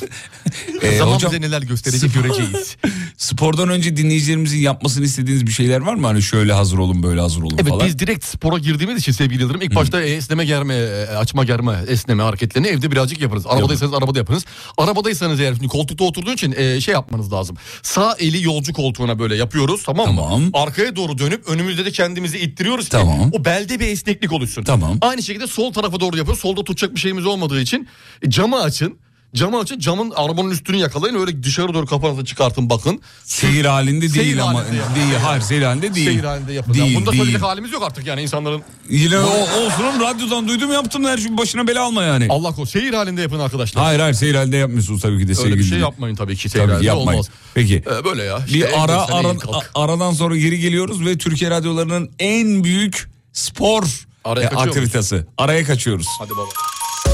S3: Ee,
S2: Zaman
S3: hocam-
S2: bize neler gösterecek göreceğiz.
S3: Spordan önce dinleyicilerimizin yapmasını istediğiniz bir şeyler var mı? Hani şöyle hazır olun böyle hazır olun
S2: Evet
S3: falan.
S2: biz direkt spora girdiğimiz için sevgili Yıldırım ilk başta esneme germe, e, açma germe, esneme hareketlerini evde birazcık yaparız. Arabadaysanız arabada yapınız. Arabadaysanız eğer şimdi koltukta oturduğun için e, şey yapmanız lazım. Sağ eli yolcu koltuğuna böyle yapıyoruz tamam mı?
S3: Tamam.
S2: Arkaya doğru dönüp önümüzde de kendimizi ittiriyoruz ki
S3: Tamam.
S2: o belde bir esneklik oluşsun.
S3: Tamam.
S2: Aynı şekilde sol tarafa doğru yapıyoruz. Solda tutacak bir şeyimiz olmadığı için e, camı açın. Camı açın camın arabanın üstünü yakalayın öyle dışarı doğru kafanızı çıkartın bakın.
S3: Seyir halinde
S2: Seyir
S3: değil ama.
S2: halinde yapın.
S3: Değil, hayır seyir halinde değil.
S2: Seyir halinde yapın. Ya
S3: Değil,
S2: Bunda
S3: değil.
S2: söyleyecek halimiz yok artık yani insanların.
S3: Yine o, olsun oğlum, radyodan duydum yaptım da her şey başına bela alma yani.
S2: Allah korusun. Seyir halinde yapın arkadaşlar.
S3: Hayır hayır seyir halinde yapmıyorsunuz tabii ki de
S2: Öyle
S3: sevgili.
S2: bir şey
S3: dinleyici.
S2: yapmayın tabii ki.
S3: Tabii ki
S2: Tabii
S3: yapmayın.
S2: Olmaz.
S3: Peki.
S2: Ee, böyle ya. İşte
S3: Bir
S2: en
S3: ara,
S2: güzel, en
S3: aran-
S2: kalk.
S3: a- aradan sonra geri geliyoruz ve Türkiye radyolarının en büyük spor
S2: Araya
S3: e,
S2: kaçıyor muyuz?
S3: aktivitesi. Araya kaçıyoruz.
S2: Hadi baba.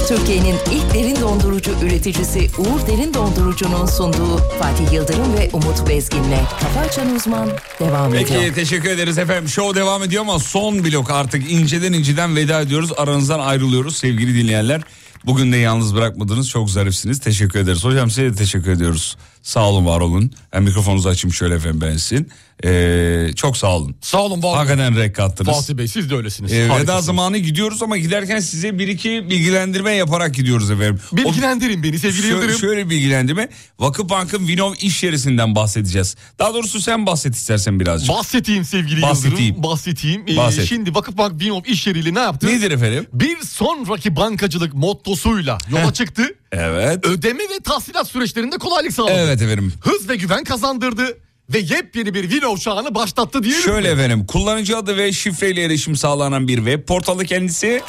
S8: Türkiye'nin ilk derin dondurucu üreticisi Uğur Derin Dondurucu'nun sunduğu Fatih Yıldırım ve Umut Bezgin'le Kafa Açan Uzman devam ediyor.
S3: Peki teşekkür ederiz efendim. Show devam ediyor ama son blok artık inceden inceden veda ediyoruz. Aranızdan ayrılıyoruz sevgili dinleyenler. Bugün de yalnız bırakmadınız. Çok zarifsiniz. Teşekkür ederiz. Hocam size de teşekkür ediyoruz. Sağ olun var olun. Ben mikrofonunuzu açayım şöyle efendim bensin. Ee, çok sağ olun.
S6: Sağ olun var olun.
S3: Hakikaten renk kattınız.
S6: Fatih Bey siz de öylesiniz.
S3: Ee, veda
S6: Harikasınız.
S3: zamanı gidiyoruz ama giderken size bir iki bilgilendirme yaparak gidiyoruz efendim.
S6: Bilgilendirin beni sevgili
S3: şöyle,
S6: Yıldırım.
S3: Şöyle bilgilendirme. Vakıfbank'ın Vinov iş yerisinden bahsedeceğiz. Daha doğrusu sen bahset istersen birazcık.
S6: Bahseteyim sevgili Yıldırım. Bahseteyim. Ee,
S3: Bahset.
S6: Şimdi Vakıfbank Binom iş yeriyle ne yaptı?
S3: Nedir efendim?
S6: Bir sonraki bankacılık mottosuyla yola çıktı.
S3: Evet.
S6: Ödeme ve tahsilat süreçlerinde kolaylık sağladı.
S3: Evet efendim.
S6: Hız ve güven kazandırdı ve yepyeni bir Vino çağını başlattı diyelim.
S3: Şöyle
S6: mi?
S3: efendim kullanıcı adı ve şifreyle erişim sağlanan bir web portalı kendisi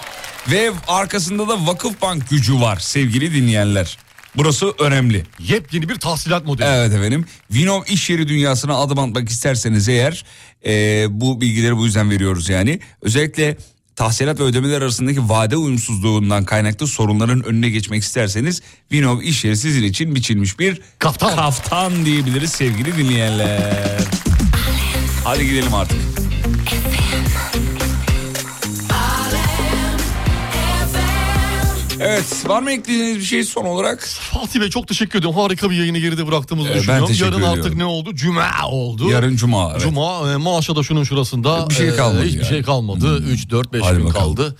S3: ve arkasında da Vakıfbank gücü var sevgili dinleyenler. Burası önemli.
S6: Yepyeni bir tahsilat modeli.
S3: Evet efendim. Vinov iş yeri dünyasına adım atmak isterseniz eğer e, bu bilgileri bu yüzden veriyoruz yani. Özellikle tahsilat ve ödemeler arasındaki vade uyumsuzluğundan kaynaklı sorunların önüne geçmek isterseniz Vinov iş yeri sizin için biçilmiş bir
S6: kaftan,
S3: kaftan diyebiliriz sevgili dinleyenler. Hadi gidelim artık. Evet var mı eklediğiniz bir şey son olarak?
S6: Fatih Bey çok teşekkür ediyorum. Harika bir yayını geride bıraktığımızı
S3: Ee, ben
S6: düşünüyorum.
S3: teşekkür
S6: Yarın
S3: ediyorum.
S6: artık ne oldu? Cuma oldu.
S3: Yarın cuma, evet.
S6: Cuma e, maaşa da şunun şurasında.
S3: Bir şey
S6: e,
S3: kalmadı
S6: Hiçbir
S3: yani. Hmm.
S6: şey kalmadı. 3, 4, 5
S3: Hadi
S6: gün
S3: bakalım.
S6: kaldı.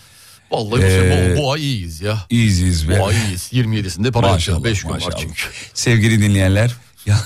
S6: Vallahi bu,
S3: Ee,
S6: sene- bu, bu ay iyiyiz ya.
S3: İyiyiz iyiyiz. be.
S6: Bu ay iyiyiz. 27'sinde para
S3: Maşallah,
S6: yaşayacağız. 5 gün var
S3: maşallah.
S6: çünkü.
S3: Sevgili dinleyenler. Ya,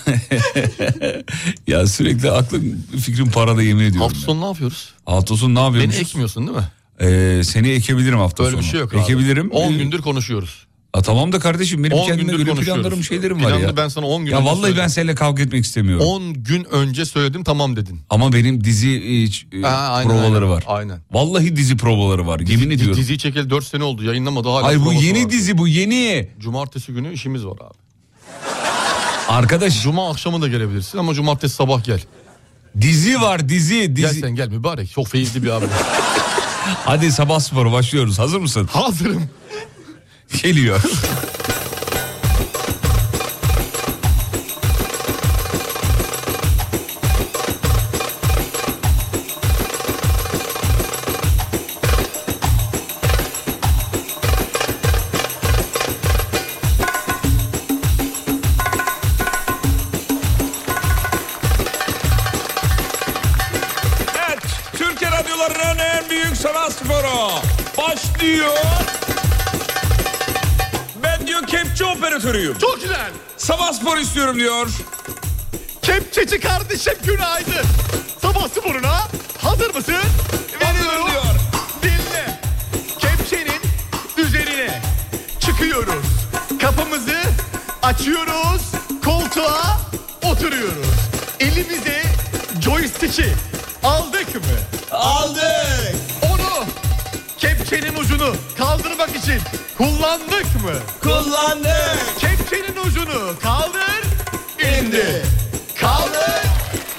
S3: <laughs> ya sürekli aklım fikrim parada yemin ediyorum.
S6: Hafta sonu ne yapıyoruz?
S3: Altos'un ne yapıyormuş?
S6: Beni ekmiyorsun değil mi?
S3: Ee, seni ekebilirim hafta
S6: Öyle
S3: sonu. Ee,
S6: bir şey yok abi.
S3: Ekebilirim.
S6: 10 gündür konuşuyoruz.
S3: Aa, tamam da kardeşim benim
S6: 10
S3: kendime
S6: gündür
S3: göre
S6: konuşuyoruz.
S3: planlarım şeylerim var
S6: Planlı
S3: ya.
S6: ben sana 10 gün
S3: Ya
S6: önce
S3: vallahi ben
S6: söyledim.
S3: seninle kavga etmek istemiyorum.
S6: 10 gün önce söyledim tamam dedin.
S3: Ama benim dizi e, ç- e, provaları
S6: aynen,
S3: var.
S6: Aynen.
S3: Vallahi dizi provaları var. Yemin
S6: Di-
S3: ediyorum.
S6: Diziyi çekeli 4 sene oldu yayınlamadı hala.
S3: Ay bu
S6: provası
S3: yeni
S6: var.
S3: dizi bu yeni.
S6: Cumartesi günü işimiz var abi.
S3: Arkadaş.
S6: Cuma akşamı da gelebilirsin ama cumartesi sabah gel.
S3: Dizi var dizi. dizi.
S6: Gel sen gel mübarek. Çok feyizli bir abi.
S3: Hadi sabah sporu başlıyoruz. Hazır mısın?
S6: <laughs> Hazırım.
S3: Geliyor. Evet, Türkiye radyolarının en büyük sanat sporu başlıyor. Ben diyor kepçe operatörüyüm.
S6: Çok güzel.
S3: Sabah spor istiyorum diyor.
S6: Kepçeci kardeşim günaydın. Sabah sporuna hazır mısın? Veriyorum. Dinle. Kepçenin üzerine çıkıyoruz. Kapımızı açıyoruz. Koltuğa oturuyoruz. Elimize joystick'i aldık mı? Aldık. Onu kepçenin ucunu kaldırmak için kullandık mı? Kullandık. Kepçenin ucunu kaldır, indi. Kaldır,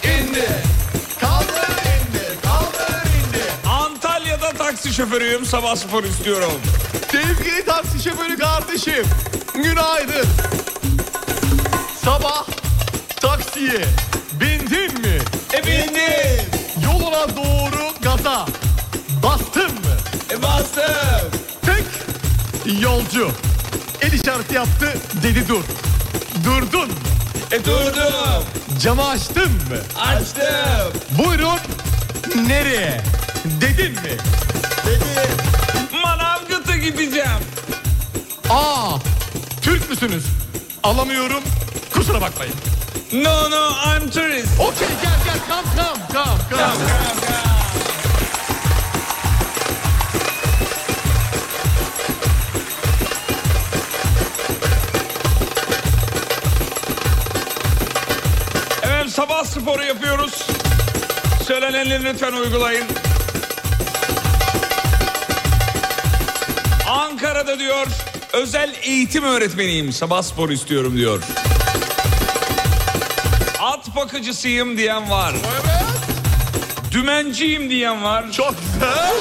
S6: indi. Kaldır, indi. Kaldır, indi.
S3: Antalya'da taksi şoförüyüm. Sabah spor istiyorum.
S6: Sevgili taksi şoförü kardeşim, günaydın. Sabah taksiye bindin mi? E bindim. Yoluna doğru gaza bastın mı? E bastım. Tek yolcu el işareti yaptı dedi dur. Durdun mu? E durdum. Camı açtın mı? Açtım. Buyurun nereye? Dedin mi? Dedim.
S3: Manavgat'a gideceğim.
S6: Aa, Türk müsünüz? Alamıyorum. Kusura bakmayın.
S3: No no I'm tourist.
S6: Okey gel gel come come come come.
S3: Efendim sabah sporu yapıyoruz. Söylenenleri lütfen uygulayın. Ankara'da diyor özel eğitim öğretmeniyim. Sabah sporu istiyorum diyor. At bakıcısıyım diyen var. Dümenciyim diyen var.
S6: Çok güzel.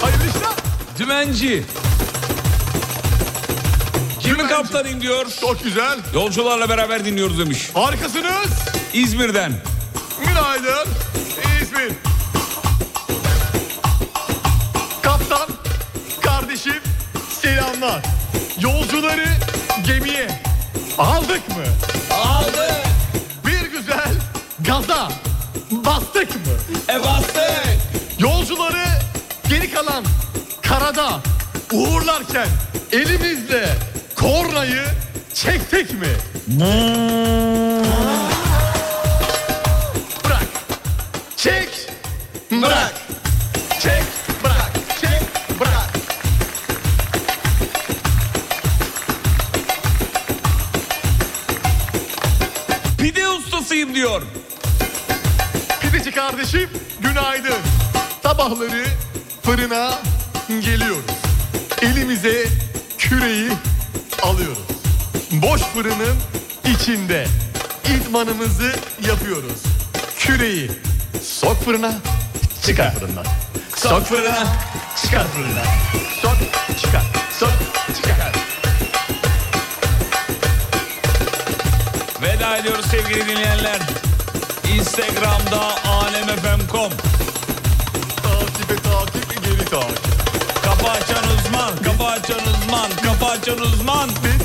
S6: Hayırlı işler.
S3: Dümenci. Kimi kaptanıyım diyor.
S6: Çok güzel.
S3: Yolcularla beraber dinliyoruz demiş.
S6: Harikasınız.
S3: İzmir'den.
S6: Günaydın. İzmir. Kaptan, kardeşim selamlar. Yolcuları gemiye Aldık mı? Aldık. Bir güzel gaza bastık mı? E bastık. Yolcuları geri kalan karada uğurlarken elimizle kornayı çektik mi? Bırak. Çek. Bırak. Çek. Bırak. Çek. Bırak.
S3: Pide ustasıyım diyor.
S6: Pideci kardeşim günaydın. Sabahları fırına geliyoruz. Elimize küreği alıyoruz. Boş fırının içinde idmanımızı yapıyoruz. Küreği sok fırına, çıkar fırından. Sok fırına, çıkar fırından. Sok, çıkar, sok, çıkar.
S3: Veda ediyoruz sevgili dinleyenler. Instagram'da alemfm.com
S6: Takibe takip geri takip.
S3: Kafa açan uzman, kafa açan uzman, kafa açan uzman.